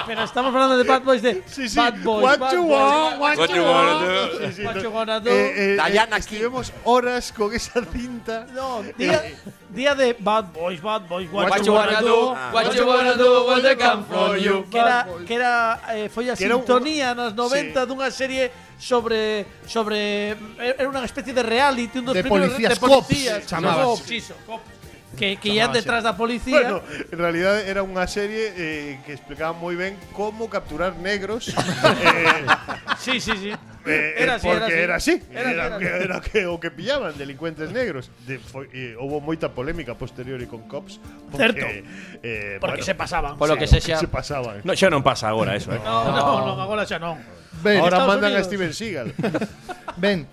Speaker 2: Pero estamos hablando de Bad Boys de
Speaker 3: Sí, sí
Speaker 2: Bad Boys. Bad
Speaker 3: What you
Speaker 2: Boys.
Speaker 3: want, what,
Speaker 7: What you wanna
Speaker 3: Sí,
Speaker 7: do?
Speaker 3: sí,
Speaker 2: What
Speaker 3: no.
Speaker 2: you wanna do.
Speaker 3: Eh, eh,
Speaker 5: Diana
Speaker 3: eh, Estuvemos horas con esa cinta
Speaker 2: No, día,
Speaker 3: eh,
Speaker 2: día de Bad Boys, Bad Boys, What,
Speaker 8: What you wanna do? What you wanna do when they come for you?
Speaker 2: Que era, que era eh, foi a
Speaker 3: Que era un-
Speaker 2: sintonía nos 90 dunha serie sobre sobre eh, era unha especie de reality, un dos
Speaker 6: De
Speaker 2: primeiros
Speaker 6: policías,
Speaker 2: de policías,
Speaker 6: cops, chamábase.
Speaker 2: cops, iso, cops, que que ian detrás da policía.
Speaker 3: Bueno, en realidad era una serie eh, que explicaba muy bien cómo capturar negros eh,
Speaker 2: Sí, sí, sí.
Speaker 3: eh,
Speaker 2: Era
Speaker 3: eh,
Speaker 2: así, era
Speaker 3: porque
Speaker 2: así.
Speaker 3: era así.
Speaker 2: Era
Speaker 3: Era,
Speaker 2: así, era
Speaker 3: que, era que, o que pillaban delincuentes negros. De, foi, eh, houbo moita polémica posterior con Cops. Porque,
Speaker 2: Certo.
Speaker 3: eh,
Speaker 2: Porque se
Speaker 3: bueno,
Speaker 2: pasaban.
Speaker 8: Por lo
Speaker 3: sí,
Speaker 8: que se xa.
Speaker 3: se pasaban.
Speaker 7: No, xa non pasa agora eso, eh.
Speaker 2: No, no, no, agora xa non.
Speaker 6: Ben,
Speaker 2: Estados
Speaker 3: Ahora mandan
Speaker 2: Unidos.
Speaker 3: a Steven Seagal.
Speaker 6: ben,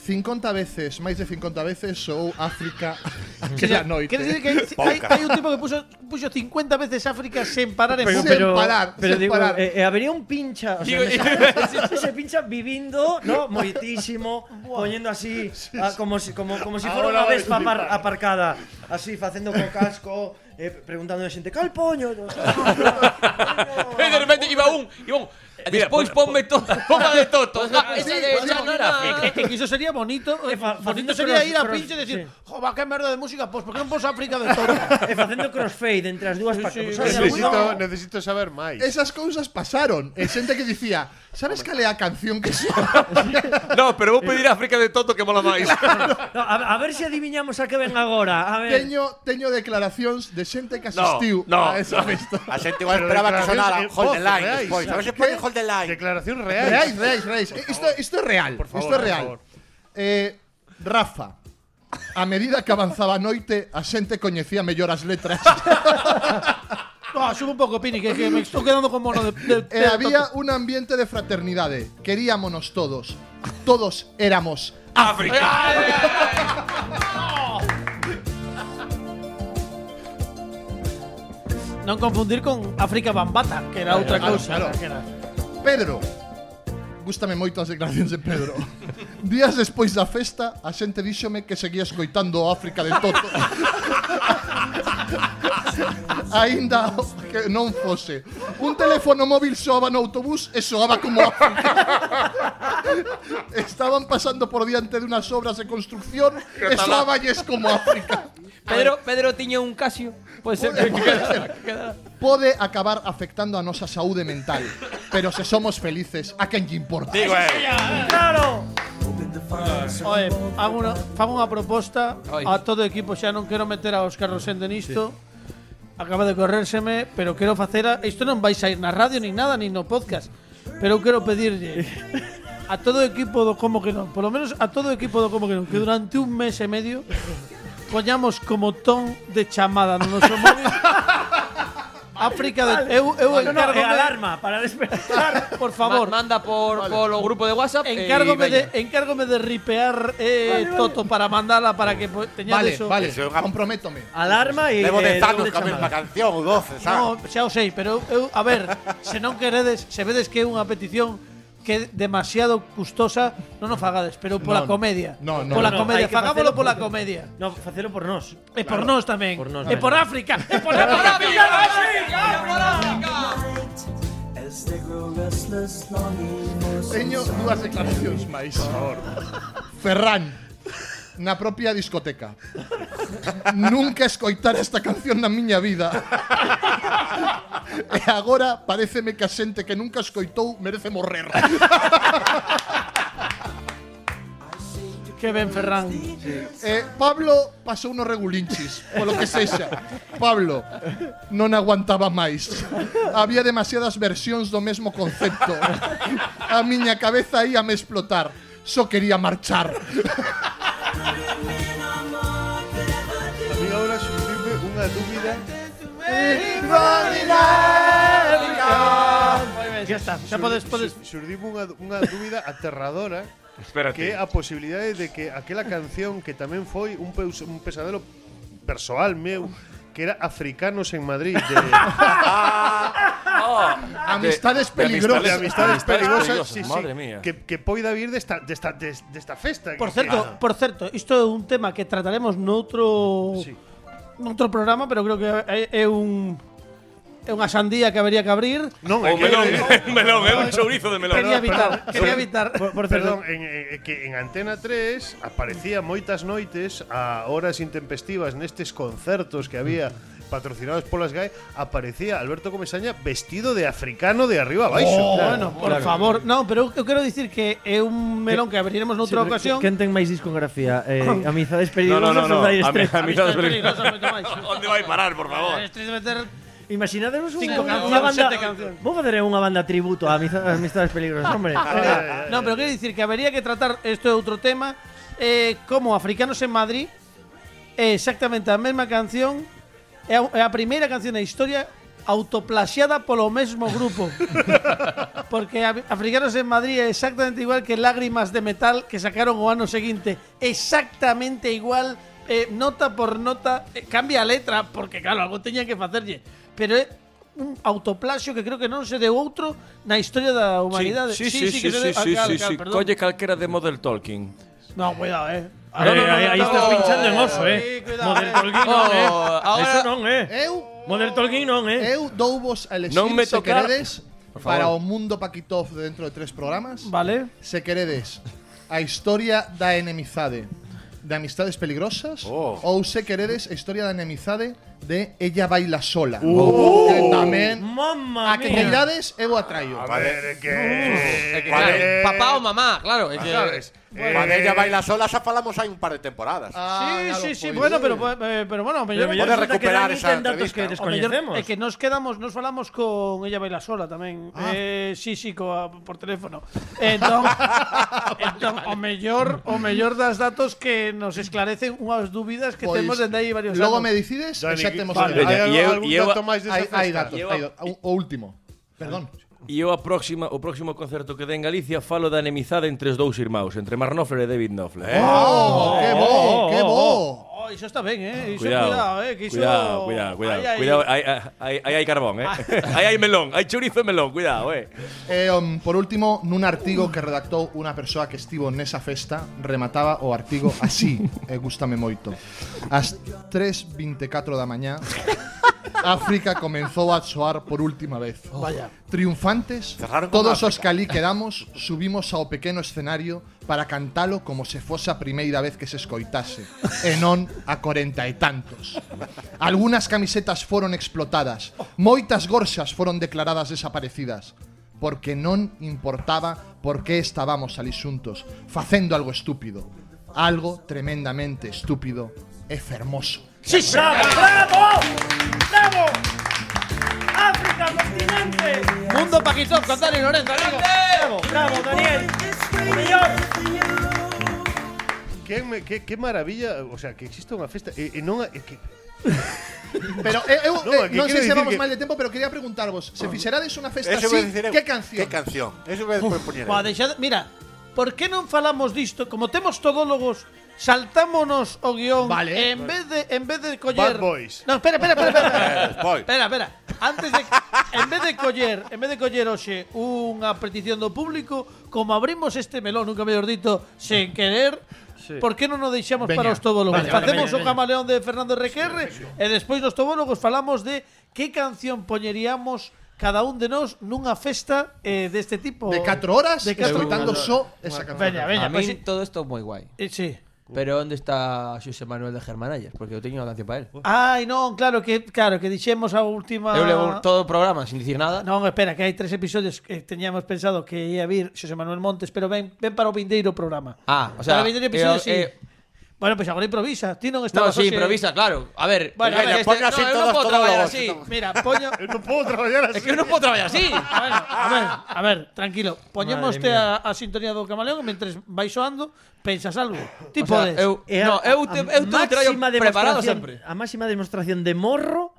Speaker 6: 50 veces, máis de 50 veces ou África aquela noite.
Speaker 2: Queres dicir que
Speaker 3: eh.
Speaker 2: hai,
Speaker 5: Pouca.
Speaker 2: hai un tipo que puxo, puxo 50 veces África sen parar en
Speaker 6: Pero-
Speaker 2: Google.
Speaker 6: pero- parar,
Speaker 4: pero
Speaker 6: sen
Speaker 4: digo,
Speaker 6: parar.
Speaker 4: eh, eh, habría un pincha, o sea,
Speaker 8: Digo,
Speaker 4: me sale- ese pincha vivindo, ¿no? Moitísimo, poniendo así, ah, como si como como si fuera
Speaker 3: Ahora
Speaker 4: una
Speaker 3: vai
Speaker 4: vespa
Speaker 3: flipar.
Speaker 4: apar- aparcada, así facendo co casco, eh, preguntando a xente, "Cal poño?" No, Eh,
Speaker 8: E de repente iba un, iba un. Despois ponme toda, ponga de toto. Ah, Esa de
Speaker 2: Sí,
Speaker 8: Xavi
Speaker 2: mira, eh, eh, que Eso sería bonito. eh,
Speaker 4: Eh, fa-
Speaker 2: bonito
Speaker 4: facendo
Speaker 2: sería
Speaker 4: cross-
Speaker 2: ir a
Speaker 4: cross-
Speaker 2: pinche y decir,
Speaker 4: sí.
Speaker 2: jova, qué merda de música, pues, ¿por qué no pos África de todo?
Speaker 4: e facendo crossfade entre as dúas pa-
Speaker 2: Sí,
Speaker 4: pues,
Speaker 2: sí,
Speaker 4: hay
Speaker 3: necesito,
Speaker 4: alguno-
Speaker 3: necesito saber máis.
Speaker 6: Esas cousas pasaron. E xente que dicía, sabes cal é a canción que son?
Speaker 7: No, pero vou pedir a África de Toto que mola máis.
Speaker 4: No, a, a ver se adiviñamos a que ven agora. A ver.
Speaker 6: teño, teño declaracións de xente que
Speaker 7: No,
Speaker 6: asistiu a
Speaker 7: no.
Speaker 6: esa festa.
Speaker 5: A xente igual
Speaker 3: Pero
Speaker 5: esperaba que
Speaker 3: declaracións
Speaker 5: sonara
Speaker 3: en
Speaker 5: Hold the
Speaker 3: voz ¿eh?
Speaker 5: Line
Speaker 3: reais.
Speaker 5: despois. A ver se pone Hold the Line.
Speaker 3: Declaración
Speaker 6: Reais,
Speaker 3: real.
Speaker 6: reais, reais. Isto, isto é real.
Speaker 3: Por favor,
Speaker 6: isto é
Speaker 3: por
Speaker 6: real.
Speaker 3: favor.
Speaker 6: Eh, Rafa, a medida que avanzaba a noite, a xente coñecía mellor as letras.
Speaker 2: No, sube un poco, Pini, que, que me estoy quedando con mono de. de-
Speaker 6: e
Speaker 2: de-
Speaker 6: había un ambiente de fraternidade. Queríamonos todos. Todos éramos
Speaker 2: No confundir con África Bambata, que era otra
Speaker 6: claro,
Speaker 2: cosa.
Speaker 6: claro.
Speaker 2: que era-
Speaker 6: Pedro. Gústame moito as declaracións de Pedro. Días despois da festa, a xente díxome que seguía escoitando África de Toto. Aínda que non fose. Un teléfono móvil soaba no autobús e soaba como África. Estaban pasando por diante de unas obras de construcción e soaballes como África.
Speaker 8: Pedro, Pedro tiña un Casio. Puede ser que quedara.
Speaker 6: Pode acabar afectando a nosa saúde mental, pero se somos felices, a quen lle importa?
Speaker 5: Digo, eh.
Speaker 4: Claro.
Speaker 2: Oe, hago una, fago unha proposta
Speaker 8: Oi.
Speaker 2: a todo o equipo, xa non quero meter a Óscar Rosende nisto. Acaba de corrérseme, pero quero facer a, isto non vais a ir na radio nin nada, nin no podcast. Pero eu quero pedirlle a todo o equipo do como que non, polo menos a todo o equipo do como que non, que durante un mes e medio poñamos como ton de chamada no noso móvil. África de eu eu
Speaker 4: No, no, eh,
Speaker 2: encárgome-
Speaker 4: alarma para despertar.
Speaker 2: por favor,
Speaker 8: Ma- manda por, por o grupo de WhatsApp. e
Speaker 2: Encárgome
Speaker 8: veña.
Speaker 2: de, encárgome de ripear eh, Toto para mandarla para que po-
Speaker 6: Vale,
Speaker 2: teñades eso.
Speaker 6: vale,
Speaker 5: Eso é unha-
Speaker 6: comprométome.
Speaker 4: Alarma y
Speaker 5: Levo
Speaker 4: eh,
Speaker 5: de
Speaker 4: doble
Speaker 5: Thanos coa mesma
Speaker 4: chamada.
Speaker 5: canción, ou 12,
Speaker 2: No,
Speaker 5: sabes?
Speaker 2: xa o sei, pero eu, eu, a ver, se non queredes, se vedes que é unha petición que é demasiado custosa, non o fagades, pero pola
Speaker 6: Non.
Speaker 2: comedia.
Speaker 6: No, no,
Speaker 2: pola
Speaker 4: no.
Speaker 2: comedia,
Speaker 4: Hai que
Speaker 2: fagámolo
Speaker 4: facelo
Speaker 2: pola
Speaker 4: por-
Speaker 2: comedia.
Speaker 4: No, facelo por nos.
Speaker 2: E por nós tamén.
Speaker 4: Por nós
Speaker 2: e
Speaker 4: tamén.
Speaker 2: por África, e por
Speaker 8: ¡Por
Speaker 2: África.
Speaker 8: África, África, por África!
Speaker 6: Teño dúas declaracións máis. Ferran, na propia discoteca. Nunca escoitar esta canción na miña vida. e agora pareceme que a xente que nunca escoitou merece morrer.
Speaker 2: Que ben Ferran.
Speaker 6: Eh, Pablo pasou no regulinchis, polo que sexa. Pablo non aguantaba máis. Había demasiadas versións do mesmo concepto. A miña cabeza ia me explotar. Só quería marchar.
Speaker 3: A mí ahora surgirme unha dúbida
Speaker 2: Moi ben, xa está. Xa podes podes
Speaker 3: Surdirme unha, unha dúbida aterradora que é
Speaker 7: Espérate.
Speaker 3: a posibilidade de que aquela canción que tamén foi un, peus, un pesadelo persoal meu que era Africanos en Madrid de,
Speaker 7: Ah,
Speaker 6: Amistades peligrosas.
Speaker 3: de amistades
Speaker 7: Amistades
Speaker 3: perigosas,
Speaker 7: perigosas,
Speaker 3: sí, sí,
Speaker 7: madre mía.
Speaker 3: que, que poida vir desta, desta, des- desta festa
Speaker 2: Por
Speaker 3: que-
Speaker 2: certo, por certo, isto é un tema que trataremos noutro
Speaker 3: Sí.
Speaker 2: noutro programa, pero creo que é, é un é unha sandía que habería que abrir.
Speaker 3: non, é
Speaker 7: O
Speaker 3: que-
Speaker 7: melón, un melón, é un chourizo de melón.
Speaker 2: quería evitar,
Speaker 3: perdón.
Speaker 2: quería evitar.
Speaker 4: Por, por cierto,
Speaker 3: Perdón, en, eh, que en Antena 3 aparecía moitas noites a horas intempestivas nestes concertos que había patrocinados polas GAE, aparecía Alberto Comesaña vestido de africano de arriba a baixo.
Speaker 2: bueno, por favor, non, pero eu, eu quero dicir que é un melón que abriremos noutra ocasión.
Speaker 4: Quen ten máis discografía? Eh, amizades
Speaker 7: No, no,
Speaker 4: perigosas ou
Speaker 7: no, no.
Speaker 4: Dire
Speaker 7: A mi-
Speaker 4: Straits?
Speaker 7: Amistades
Speaker 2: Isto é peligroso, moito máis.
Speaker 7: ¿Dónde vai parar, por favor?
Speaker 2: Este es Eh, meter
Speaker 4: Imaginadevos un,
Speaker 2: Cinco
Speaker 4: unha
Speaker 2: cancións,
Speaker 4: banda...
Speaker 2: sete cancións.
Speaker 4: Vou facer unha banda tributo a mis, a amistades peligrosas, hombre.
Speaker 2: No, pero quiero decir que habría que tratar esto es otro tema eh, como africanos en Madrid é exactamente a misma canción é a, é a primeira canción da historia autoplaxiada polo mesmo grupo porque a- Africanos en Madrid é exactamente igual que Lágrimas de Metal que sacaron o ano seguinte exactamente igual eh, nota por nota eh, cambia a letra porque claro, algo teña que facerlle pero é un autoplaxio que creo que non se deu outro na historia da humanidade
Speaker 7: Sí, sí, sí, sí, sí,
Speaker 2: ah,
Speaker 7: sí, sí, sí. Colle calquera de Model Talking.
Speaker 2: No, cuidado, eh.
Speaker 8: Ah, no, no, no,
Speaker 4: ahí-
Speaker 8: no,
Speaker 4: ahí
Speaker 8: no,
Speaker 4: estás
Speaker 8: no,
Speaker 4: pinchando
Speaker 8: no,
Speaker 4: en oso,
Speaker 8: no,
Speaker 4: eh.
Speaker 2: sí, cuidado,
Speaker 4: Model
Speaker 2: eh.
Speaker 4: Tolkien non, eh.
Speaker 8: Oh, ahora-
Speaker 4: Eso non, eh.
Speaker 6: Eu
Speaker 4: Model Tolkien non, eh.
Speaker 6: Eu dou vos a
Speaker 7: Non
Speaker 6: elección
Speaker 7: me
Speaker 6: se
Speaker 7: tocar.
Speaker 6: queredes para o mundo Paquitov de dentro de tres programas.
Speaker 2: Vale.
Speaker 6: Se queredes a historia da enemizade de amistades peligrosas ou se queredes a historia da enemizade de Ella baila sola. Que tamén
Speaker 4: Mamma
Speaker 2: Ah,
Speaker 6: a que
Speaker 4: mía.
Speaker 6: coidades eu atraio.
Speaker 3: A ver, é que.
Speaker 5: É que,
Speaker 3: Vale.
Speaker 5: claro,
Speaker 3: Eh,
Speaker 8: Papá o mamá, claro. es que-
Speaker 3: sabes, eh,
Speaker 5: Cuando ella baila sola, xa falamos hai un par de temporadas.
Speaker 6: Ah,
Speaker 2: sí,
Speaker 6: claro,
Speaker 2: sí, sí,
Speaker 6: pois.
Speaker 2: bueno, pero, eh, pero bueno, mellor, o
Speaker 4: Pero mellor resulta
Speaker 5: Pode
Speaker 4: que
Speaker 5: recuperar
Speaker 4: Dani
Speaker 5: esa
Speaker 4: ten datos
Speaker 5: entrevista.
Speaker 4: que
Speaker 5: O mellor
Speaker 2: mellor
Speaker 4: descoñecemos.
Speaker 2: é que nos quedamos, nos falamos con ella baila sola tamén.
Speaker 6: Ah.
Speaker 2: Eh, sí, sí, coa, por teléfono. Entón, entón o mellor, o mellor das datos que nos esclarecen unhas dúbidas que
Speaker 6: Pois,
Speaker 2: temos dende aí varios
Speaker 6: Logo Pues, me
Speaker 2: anos.
Speaker 6: dicides e
Speaker 3: Dani,
Speaker 6: xa temos
Speaker 3: vale,
Speaker 6: o debate.
Speaker 7: Veña,
Speaker 3: hai
Speaker 7: e eu-
Speaker 3: algún
Speaker 7: e eu-
Speaker 3: dato máis desta
Speaker 6: Hai,
Speaker 3: festa?
Speaker 6: hai datos,
Speaker 7: Lleva-
Speaker 6: hai datos. O o último. Perdón.
Speaker 7: E eu a próxima, o próximo concerto que den Galicia falo da enemizade entre os dous irmãos, entre Mark Knopfler e David Knopfler.
Speaker 6: Oh, que bo, que bo.
Speaker 2: Oh, iso está ben, eh. Iso,
Speaker 7: Cuidado,
Speaker 2: cuidado, eh, que iso...
Speaker 7: cuidado, cuidado, cuidado,
Speaker 2: Ai, ai.
Speaker 7: cuidado, aí hai, hai, hai carbón, eh. aí hai melón, hai chourizo e melón, cuidado, eh.
Speaker 6: E, um, por último, nun artigo que redactou unha persoa que estivo nesa festa remataba o artigo así, e gustame moito. As 3.24 da mañá, África comenzou a soar por última vez. Vaya. Triunfantes,
Speaker 5: Cerraron con
Speaker 6: todos
Speaker 5: África.
Speaker 6: os que alí quedamos subimos ao pequeno escenario para cantalo como se fose a primeira vez que se escoitase, e non a corenta e tantos. Algunas camisetas foron explotadas, moitas gorxas foron declaradas desaparecidas, porque non importaba por que estábamos ali xuntos, facendo algo estúpido, algo tremendamente estúpido e fermoso.
Speaker 2: Sí, sabe. ¡Bravo! ¡Bravo! ¡África, continente!
Speaker 8: Mundo Paquistán con Dani Lorenzo, amigo.
Speaker 2: ¡Bravo, bravo, Daniel! ¡O mellor!
Speaker 3: Que, me- que, que maravilla, o sea, que existe unha festa e, e non é que
Speaker 6: Pero eu, eu
Speaker 3: No,
Speaker 6: eh,
Speaker 3: que
Speaker 6: non
Speaker 3: quero
Speaker 6: sei se
Speaker 3: dicir
Speaker 6: vamos
Speaker 3: que-
Speaker 6: mal de tempo, pero quería preguntarvos, se fixerades unha festa
Speaker 5: Eso
Speaker 6: así,
Speaker 5: voy a decir eu.
Speaker 6: que canción?
Speaker 5: Que canción? Eso voy a propoñer. eu.
Speaker 2: Pá, deixad- mira, por que non falamos disto? Como temos todólogos, saltámonos o guión
Speaker 6: Vale.
Speaker 2: e en vez de en vez de coller
Speaker 3: Bad Boys.
Speaker 2: No, espera, espera, espera. espera.
Speaker 5: Despois.
Speaker 2: Espera, espera. Antes de en vez de coller, en vez de coller hoxe unha petición do público, como abrimos este melón, nunca mellor dito, sen querer, Por que non o deixamos
Speaker 6: Veña.
Speaker 2: para os tobólogos?
Speaker 4: Vale, vale,
Speaker 2: Facemos
Speaker 4: veña,
Speaker 2: o
Speaker 4: veña.
Speaker 2: camaleón de Fernando Requerre e despois nos tobólogos falamos de que canción poñeríamos cada un de nós nunha festa eh, deste tipo.
Speaker 6: De 4 horas,
Speaker 2: De catro
Speaker 6: escoitando
Speaker 2: horas.
Speaker 6: só esa canción.
Speaker 2: Veña, veña,
Speaker 8: A
Speaker 2: pois
Speaker 8: mí
Speaker 2: sí.
Speaker 8: todo esto muy guay.
Speaker 2: Eh, sí.
Speaker 8: Pero ¿dónde está José Manuel de Germanayas? Porque yo tenía una canción para él.
Speaker 2: Ai, non, claro que claro que dixemos a última
Speaker 8: Yo llevo todo el programa sin decir nada.
Speaker 2: Non, espera, que hai tres episodios que teñamos pensado que ia vir Xosé Manuel Montes, pero ven, ven para o vindeiro programa.
Speaker 8: Ah, o sea,
Speaker 2: para o vindeiro episodio
Speaker 8: eh,
Speaker 2: sí.
Speaker 8: eh,
Speaker 2: bueno, pois agora improvisa. Ti non
Speaker 8: No,
Speaker 2: estabas
Speaker 8: sí,
Speaker 2: hoxe-
Speaker 8: improvisa, claro. A ver,
Speaker 2: Bueno,
Speaker 8: es que
Speaker 2: venga,
Speaker 8: este-
Speaker 5: ponga así
Speaker 8: no, yo
Speaker 5: todos,
Speaker 8: no puedo
Speaker 5: todos
Speaker 8: trabajar
Speaker 5: los-
Speaker 8: así.
Speaker 2: Mira, poño
Speaker 3: eu non podo traballar así.
Speaker 8: Es que yo no puedo trabajar así.
Speaker 2: A ver, a ver, a ver, tranquilo. Poñémoste a, a sintonía do camaleón e mentres vais soando, pensas algo. Ti
Speaker 8: O sea,
Speaker 2: podes.
Speaker 8: eu- no, eu, te, eu te traio preparado siempre.
Speaker 4: A máxima demostración de morro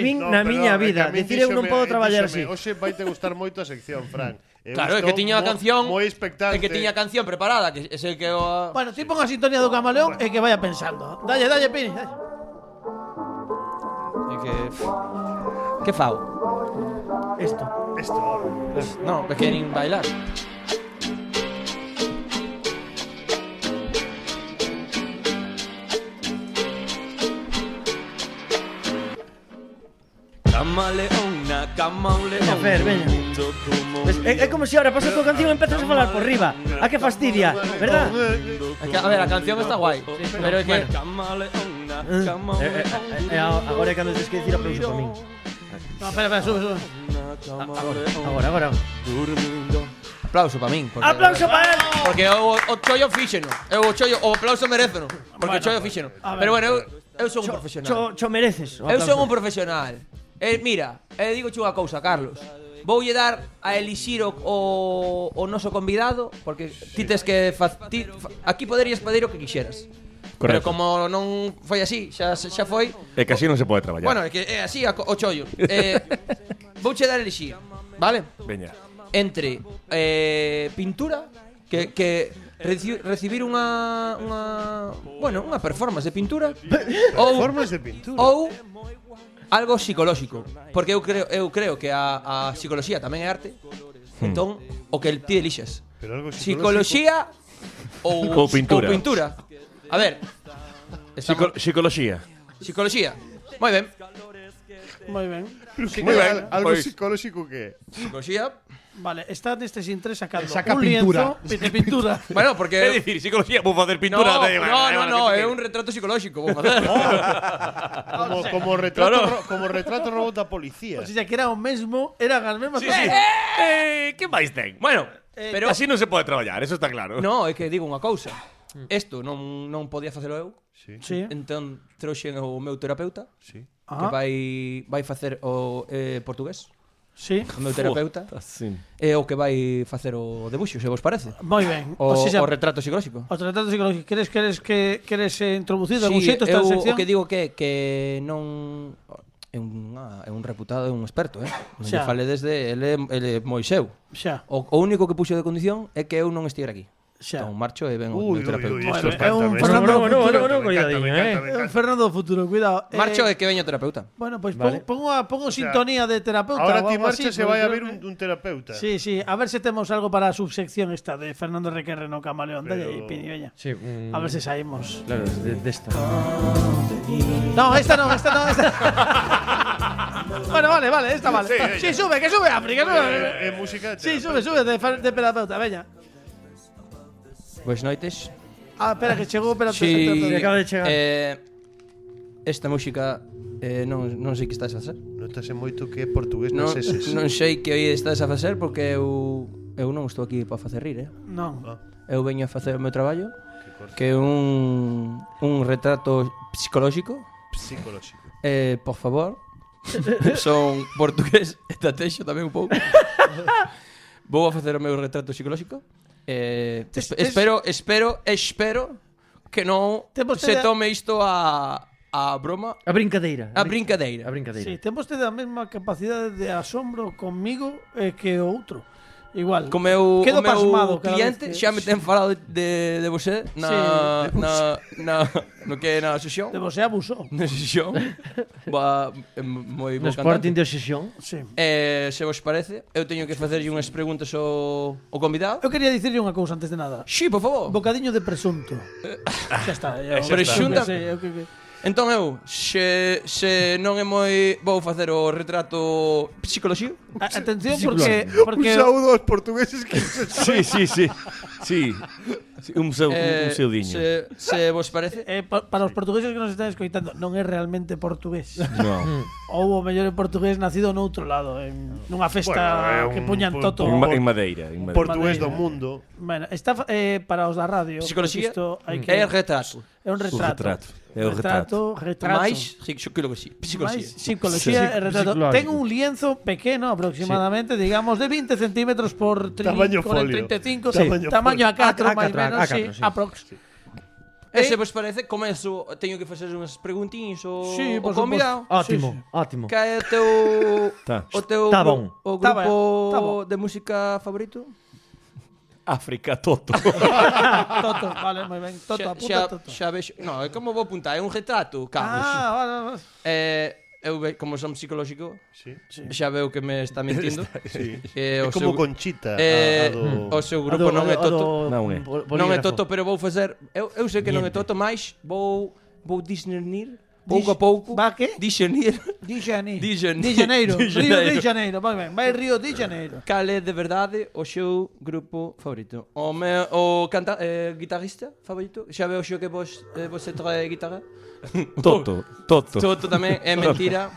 Speaker 2: Sí.
Speaker 4: vin
Speaker 3: No,
Speaker 4: na
Speaker 3: perdón,
Speaker 4: miña
Speaker 3: é que
Speaker 4: vida.
Speaker 3: a min
Speaker 4: Decir eu non
Speaker 3: díxome-
Speaker 4: podo traballar así.
Speaker 3: díxome, Hoxe vai te gustar moito a sección, Fran. Eu
Speaker 8: Claro, es que
Speaker 3: estou
Speaker 8: tenía la
Speaker 3: mo-
Speaker 8: canción.
Speaker 3: Moi expectante.
Speaker 8: Es que tenía canción preparada, que es el que. o-
Speaker 2: Bueno, ti pon a sintonía do camaleón e que vaya pensando. Dalle, dalle, Pini, dalle.
Speaker 8: el que- ¿Qué fao?
Speaker 4: Esto.
Speaker 3: Esto,
Speaker 8: No, es que ni bailar.
Speaker 7: Camaleona, camaleona.
Speaker 4: Veña, Fer, veña. Ves, É, é como se si ahora pasas coa canción e empezas a falar por riba. A que fastidia, verdad?
Speaker 3: Eh,
Speaker 8: Es que, a ver, la canción está guay. Pero es que.
Speaker 7: Camaleona,
Speaker 4: Eh, eh, eh, agora é cando tens que dicir aplauso para min.
Speaker 2: No, espera, espera, sube, sube.
Speaker 4: Agora, agora.
Speaker 8: Aplauso para mí. porque-
Speaker 4: Aplauso para él.
Speaker 8: Ah, Porque o, o chollo fíxeno. Eu o chollo, o aplauso meréceno. Porque o chollo fíxeno. Pero bueno, eu, eu son un profesional.
Speaker 4: Cho, cho mereces. o
Speaker 8: eu son
Speaker 4: aplauso.
Speaker 8: un profesional. Eh, mira, eh, digo unha cousa, Carlos. Voulle dar a elixir o, o, o noso convidado porque ti tes que fa, ti, fa, aquí poderías pedir o que quixeras. Pero
Speaker 7: Correcto.
Speaker 8: como non foi así, xa xa foi.
Speaker 7: É que así non se pode traballar.
Speaker 8: Bueno, é que é así a co- o chollo. Eh, vouche dar elixir, vale?
Speaker 7: Veña.
Speaker 8: entre eh, pintura que, que reci, recibir unha, unha bueno, unha performance de pintura ou
Speaker 3: Formas de pintura.
Speaker 8: ou algo psicolóxico, porque eu creo eu creo que a, a psicología tamén é arte.
Speaker 7: Hmm.
Speaker 8: Entón, o que ti elixes.
Speaker 3: Pero algo psicológico.
Speaker 8: Psicología ou,
Speaker 7: Ou pintura.
Speaker 8: ou pintura. A ver. estamos-
Speaker 7: Psico psicoloxía.
Speaker 8: psicología. Moi ben.
Speaker 2: Muy bien.
Speaker 7: Muy bien,
Speaker 3: Al- Algo
Speaker 7: pois.
Speaker 3: psicológico que.
Speaker 8: Psicología.
Speaker 2: Vale, está neste sin tres sacando
Speaker 6: Saca
Speaker 2: un
Speaker 6: pintura.
Speaker 2: lienzo de pintura.
Speaker 8: Bueno, porque
Speaker 7: É dicir, psicología, vou facer
Speaker 8: No,
Speaker 7: pintura de...
Speaker 8: no, no, no, é un retrato psicolóxico, vou facer.
Speaker 3: Como, como retrato,
Speaker 7: Claro.
Speaker 3: ro- como retrato robot da policía.
Speaker 2: O sea, que era o mesmo, eran as mesmas
Speaker 7: Sí, sí.
Speaker 2: cousas.
Speaker 7: Eh, que máis ten? Bueno,
Speaker 8: pero-
Speaker 7: pero así non se pode traballar, eso está claro.
Speaker 8: No, é que digo unha cousa. Isto non, non podía facelo eu.
Speaker 2: Sí. Ah,
Speaker 8: Entón trouxen o meu terapeuta, que
Speaker 2: Ajá.
Speaker 8: vai vai facer o eh, portugués.
Speaker 2: Sí.
Speaker 8: O meu terapeuta
Speaker 7: Así.
Speaker 8: é o que vai facer o debuxo, se vos parece.
Speaker 2: Moi ben. O,
Speaker 8: O,
Speaker 2: sea,
Speaker 8: o retrato psicolóxico.
Speaker 2: Pues o tratado psicológico. Queres, queres que queres eh, introducir Ah, de algún
Speaker 8: Sí,
Speaker 2: xeito esta
Speaker 8: eu,
Speaker 2: sección?
Speaker 8: o que digo que que non é un ah, é un reputado, é un experto, eh. Non lle
Speaker 2: Xa.
Speaker 8: fale desde ele é- ele é moi seu.
Speaker 2: Xa.
Speaker 8: O, o único que puxo de condición é que eu non estivera aquí.
Speaker 2: Xa.
Speaker 8: Entón marcho e ven
Speaker 3: Uy,
Speaker 8: o meu
Speaker 3: uy, uy,
Speaker 8: terapeuta.
Speaker 3: esto
Speaker 2: Bueno,
Speaker 3: espanta,
Speaker 2: es un
Speaker 3: me-
Speaker 2: Fernando
Speaker 3: no, no,
Speaker 2: Futuro.
Speaker 4: Bueno,
Speaker 3: no, no, me encanta, me
Speaker 4: cuidadinho, eh.
Speaker 3: encanta, me
Speaker 2: É un
Speaker 3: encanta.
Speaker 2: Fernando do futuro, cuidado. Eh,
Speaker 8: Marcho e que veña o terapeuta.
Speaker 2: Bueno, pois
Speaker 4: Vale.
Speaker 2: pon, pongo a, pongo sintonía de terapeuta.
Speaker 3: Ahora
Speaker 2: ou
Speaker 3: ti
Speaker 2: algo así,
Speaker 3: marcha
Speaker 2: porque
Speaker 3: se vai a
Speaker 2: creo
Speaker 3: ver un,
Speaker 2: que-
Speaker 3: un terapeuta.
Speaker 2: Sí, sí, a ver se temos algo para a subsección esta de Fernando Requerre no Camaleón. Dalle aí,
Speaker 3: Pero-
Speaker 2: Pini, veña.
Speaker 4: Sí, un-
Speaker 2: A ver se saímos.
Speaker 4: Claro, de, de esta.
Speaker 2: No, esta no, esta no, esta. bueno, vale, vale, esta vale. Sí, sube, que sube Afri, que
Speaker 3: Eh,
Speaker 2: sube.
Speaker 3: eh, música de
Speaker 2: Sí,
Speaker 3: terapeuta.
Speaker 2: sube, sube de, fer- de terapeuta, veña.
Speaker 8: Boas noites.
Speaker 2: Ah, espera que chegou, espera,
Speaker 8: Si,
Speaker 4: acaba de chegar.
Speaker 8: Eh, esta música eh, non, non sei que estás a facer.
Speaker 3: Notas en moito que é portugués
Speaker 8: Non,
Speaker 3: nas eses.
Speaker 8: non sei que hoy estás a facer porque eu eu non estou aquí para facer rir, eh.
Speaker 2: Non.
Speaker 8: Eu veño a facer o meu traballo que é un un retrato psicolóxico.
Speaker 3: Psicolóxico.
Speaker 8: Eh, por favor. Son portugués e tatexo tamén un pouco. Vou a facer o meu retrato psicolóxico. Eh,
Speaker 2: Tes-
Speaker 8: esp-
Speaker 2: tes-
Speaker 8: espero, espero, espero que non
Speaker 2: Ten vostede a-
Speaker 8: se tome isto a a broma,
Speaker 4: A brincadeira.
Speaker 8: a brincadeira.
Speaker 4: A brincadeira.
Speaker 2: Sí, ten vostede a mesma capacidade de asombro conmigo eh, que o outro. Igual.
Speaker 8: Co meu,
Speaker 2: Quedo
Speaker 8: o meu
Speaker 2: pasmado cada
Speaker 8: cliente
Speaker 2: vez que-
Speaker 8: xa me ten falado de, de, de você na,
Speaker 2: Sí.
Speaker 8: na, na, no que é na sesión.
Speaker 2: De você abusou.
Speaker 8: Na sesión. Va, é moi
Speaker 4: No
Speaker 8: bo
Speaker 4: Sporting de
Speaker 8: cantante.
Speaker 4: Obsesión.
Speaker 2: Sí.
Speaker 8: Eh, se vos parece, eu teño que facerlle unhas preguntas ao, ao convidado.
Speaker 2: Eu quería dicirlle unha cousa antes de nada.
Speaker 8: Sí, por favor.
Speaker 2: Bocadiño de presunto.
Speaker 8: Eh,
Speaker 2: Xa está. Eu,
Speaker 8: Pero xunta-
Speaker 2: Sí, eu que- que-
Speaker 8: Entón eu, se, se non é moi... Vou facer o retrato psicolóxico.
Speaker 2: A- Atención porque
Speaker 3: Un
Speaker 2: porque
Speaker 3: saúdo aos portugueses que se
Speaker 7: Sí, sí, sí. Sí. Sí, Un seu, un
Speaker 8: Eh,
Speaker 7: seudiño.
Speaker 8: se, se vos parece.
Speaker 2: eh, pa- para os portugueses que nos están escoitando, non é realmente portugués.
Speaker 8: Mm.
Speaker 7: No.
Speaker 2: Ou o mellor é portugués nacido noutro lado, en nunha festa
Speaker 3: Bueno, é un
Speaker 2: que puñan
Speaker 3: pu-
Speaker 2: toto.
Speaker 7: En, ma- en Madeira, en Madeira.
Speaker 3: portugués do mundo.
Speaker 2: Bueno, está fa- eh, para os da radio.
Speaker 8: Psicología
Speaker 2: Isto hai que
Speaker 8: Mm. é retrato.
Speaker 2: é un retrato.
Speaker 7: retrato. É o
Speaker 2: retrato, retrato.
Speaker 8: Mais, psicología. Psicología.
Speaker 2: Mais psicología e retrato.
Speaker 4: psicológico.
Speaker 2: Ten un lienzo pequeno aproximadamente, digamos, de 20 centímetros por tri-
Speaker 3: Tamaño
Speaker 2: con el
Speaker 3: folio.
Speaker 2: 35,
Speaker 3: Sí. Tamaño
Speaker 2: tamaño
Speaker 3: folio.
Speaker 2: A4
Speaker 4: A-
Speaker 2: máis
Speaker 4: A4,
Speaker 2: menos,
Speaker 4: A4,
Speaker 2: sí,
Speaker 4: sí.
Speaker 2: aprox.
Speaker 8: E se vos parece, comezo, teño que facer unhas preguntinhas ao,
Speaker 2: Sí,
Speaker 8: ao
Speaker 2: por
Speaker 8: convidado.
Speaker 4: Ótimo, ótimo.
Speaker 8: Que é o teu...
Speaker 7: Tá.
Speaker 8: O teu
Speaker 4: Ah, Tá
Speaker 8: gru-
Speaker 4: bom.
Speaker 8: o
Speaker 2: Tá ben,
Speaker 8: grupo
Speaker 2: tá bom.
Speaker 8: de música favorito?
Speaker 7: África Toto.
Speaker 2: Toto, vale, moi ben. Toto,
Speaker 8: xa,
Speaker 2: apunta
Speaker 8: xa,
Speaker 2: Toto.
Speaker 8: xa vexo... No, é como vou apuntar, é un retrato, Carlos.
Speaker 2: Ah, vale, vale.
Speaker 8: Eh, eu ve, como son psicolóxico,
Speaker 3: Sí.
Speaker 8: xa veo que me está mintindo.
Speaker 3: Sí.
Speaker 8: Eh,
Speaker 3: É
Speaker 8: o
Speaker 3: como
Speaker 8: seu-
Speaker 3: Conchita. a-
Speaker 8: eh,
Speaker 3: a do-
Speaker 8: o seu grupo non é Toto.
Speaker 7: Non é.
Speaker 8: Non é Toto, pero vou facer... Eu, eu sei que non é Toto, mas vou, vou discernir pouco a
Speaker 2: Dis-
Speaker 8: pouco.
Speaker 2: Va que?
Speaker 8: Discernir
Speaker 2: Di Janeiro.
Speaker 8: Di Janeiro.
Speaker 2: Di Janeiro.
Speaker 8: Di
Speaker 2: Río de
Speaker 8: Janeiro.
Speaker 2: Janeiro. Moi ben. Vai Río de Janeiro.
Speaker 8: cal é de verdade o seu grupo favorito. O, me, o canta, eh, guitarrista favorito, xa veo xo que vos, eh, você trae guitarra.
Speaker 7: Toto. Toto.
Speaker 8: Toto tamén é mentira.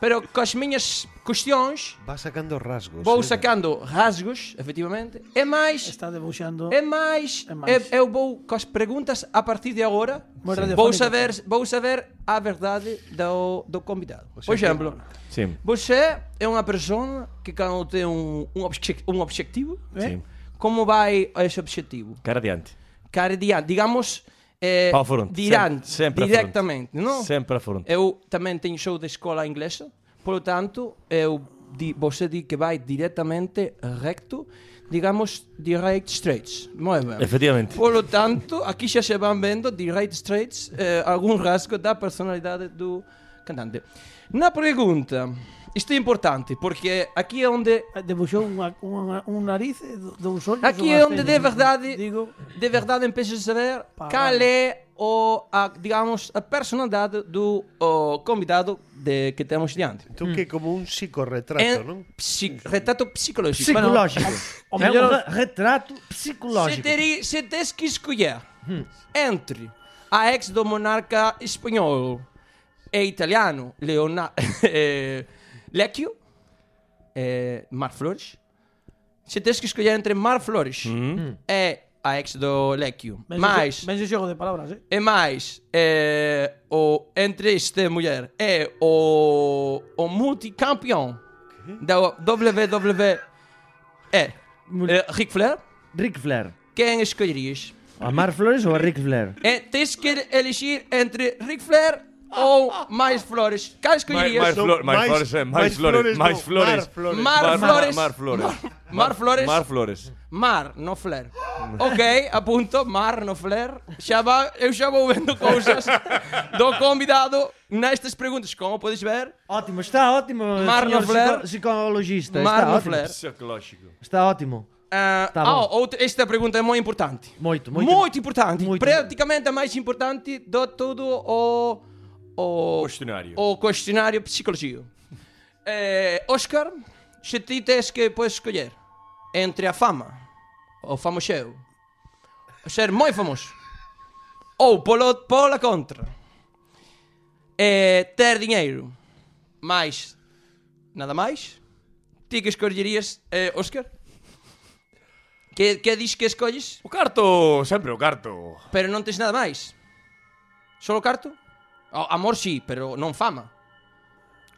Speaker 8: Pero coas miñas cuestións,
Speaker 3: Va sacando rasgos.
Speaker 8: vou
Speaker 3: eh.
Speaker 8: sacando rasgos, efectivamente, e máis
Speaker 2: Está debuxando.
Speaker 8: É máis,
Speaker 2: É
Speaker 8: é
Speaker 2: máis.
Speaker 8: eu vou coas preguntas a partir de agora.
Speaker 2: Moi
Speaker 8: Vou
Speaker 2: radiofónica.
Speaker 8: saber, vou saber a verdade do, do convidado. Por exemplo,
Speaker 7: Sim.
Speaker 8: você é uma pessoa que cando tem um, um, obje, um objetivo, eh? como vai esse objetivo?
Speaker 7: Cara adiante.
Speaker 8: Cara diante, digamos, eh,
Speaker 7: Para o fronte,
Speaker 8: diante,
Speaker 7: sem- sempre a fronte.
Speaker 8: directamente, non?
Speaker 7: Sempre a fronte.
Speaker 8: Eu tamén teño show de escola inglesa, polo tanto, eu di, você di que vai directamente recto, digamos, direct straights. Moi ben.
Speaker 7: Efectivamente.
Speaker 8: Polo tanto, aquí xa se van vendo direct straights eh, algún rasgo da personalidade do cantante. Na pregunta, isto é importante, porque aquí é onde
Speaker 2: eh, Debuxou unha, unha, un nariz e do- dous ollos.
Speaker 8: Aquí
Speaker 2: unhas
Speaker 8: é onde de
Speaker 2: teñas.
Speaker 8: verdade
Speaker 2: Digo,
Speaker 8: de verdade empezo a saber
Speaker 2: Pagano.
Speaker 8: cal é o a, digamos a personalidade do o convidado de que temos diante.
Speaker 3: Tú que como un psicorretrato,
Speaker 8: É
Speaker 3: ¿no?
Speaker 8: psi, retrato psicológico.
Speaker 4: Psicológico.
Speaker 2: o
Speaker 4: é
Speaker 2: mellor-
Speaker 4: un re- retrato
Speaker 8: Bueno, se,
Speaker 4: psicológico.
Speaker 8: teri, se tens que escolher entre a ex do monarca espanhol e italiano Leona, eh, Lecchio eh, Mar Flores se tens que escolher entre Mar Flores e a ex do Lecchio
Speaker 2: ven
Speaker 8: mais
Speaker 2: ese- Ven ese xogo de palabras, eh?
Speaker 8: E mais, é, o, entre este mulher é o, o multicampeão da WWE é, é Ric Flair.
Speaker 4: Ric Flair.
Speaker 8: Quem escolherias?
Speaker 4: A Mar Flores ou a Ric Flair?
Speaker 8: É, tens que elegir entre Ric Flair ou mais Flores. Quem
Speaker 7: Mais,
Speaker 8: escolherias?
Speaker 7: mais,
Speaker 3: No,
Speaker 7: flor, mais
Speaker 3: mais-
Speaker 7: flores, eh,
Speaker 3: mais
Speaker 7: mais
Speaker 3: flores
Speaker 7: flores,
Speaker 3: no,
Speaker 7: mais flores.
Speaker 3: Mar Flores.
Speaker 8: Mar Flores.
Speaker 7: Mar Flores.
Speaker 8: Mar Flores.
Speaker 7: Mar Flores.
Speaker 8: Mar, no Flair. ok, apunto, Mar, no Flair. Já va, eu já vou vendo coisas do convidado nestas perguntas. Como podes ver,
Speaker 4: Ótimo, está ótimo.
Speaker 8: Mar
Speaker 4: senhor
Speaker 8: no Flair.
Speaker 4: psico- Psicologista.
Speaker 8: Mar,
Speaker 4: está
Speaker 8: no
Speaker 4: ótimo.
Speaker 8: Flair.
Speaker 7: Psicológico.
Speaker 4: Está ótimo.
Speaker 8: Ah,
Speaker 4: Tá
Speaker 8: ah,
Speaker 4: bom.
Speaker 8: outra- esta pergunta é muito importante.
Speaker 4: Muito, muito.
Speaker 8: Muito, importante.
Speaker 4: Muito.
Speaker 8: Praticamente a mais importante de todo o, o,
Speaker 7: Questionário.
Speaker 8: o questionário de psicologia. Eh, Oscar, se ti tens que podes escolher entre a fama, o famoso, ser muito famoso, ou polo, pola contra, eh, ter dinheiro, mas nada mais, ti que escolherias, eh, Oscar? Que, que diz que escolhes,
Speaker 7: O carto, sempre o carto.
Speaker 8: pero non tens nada máis. Solo carto? O- Amor sí, pero non fama.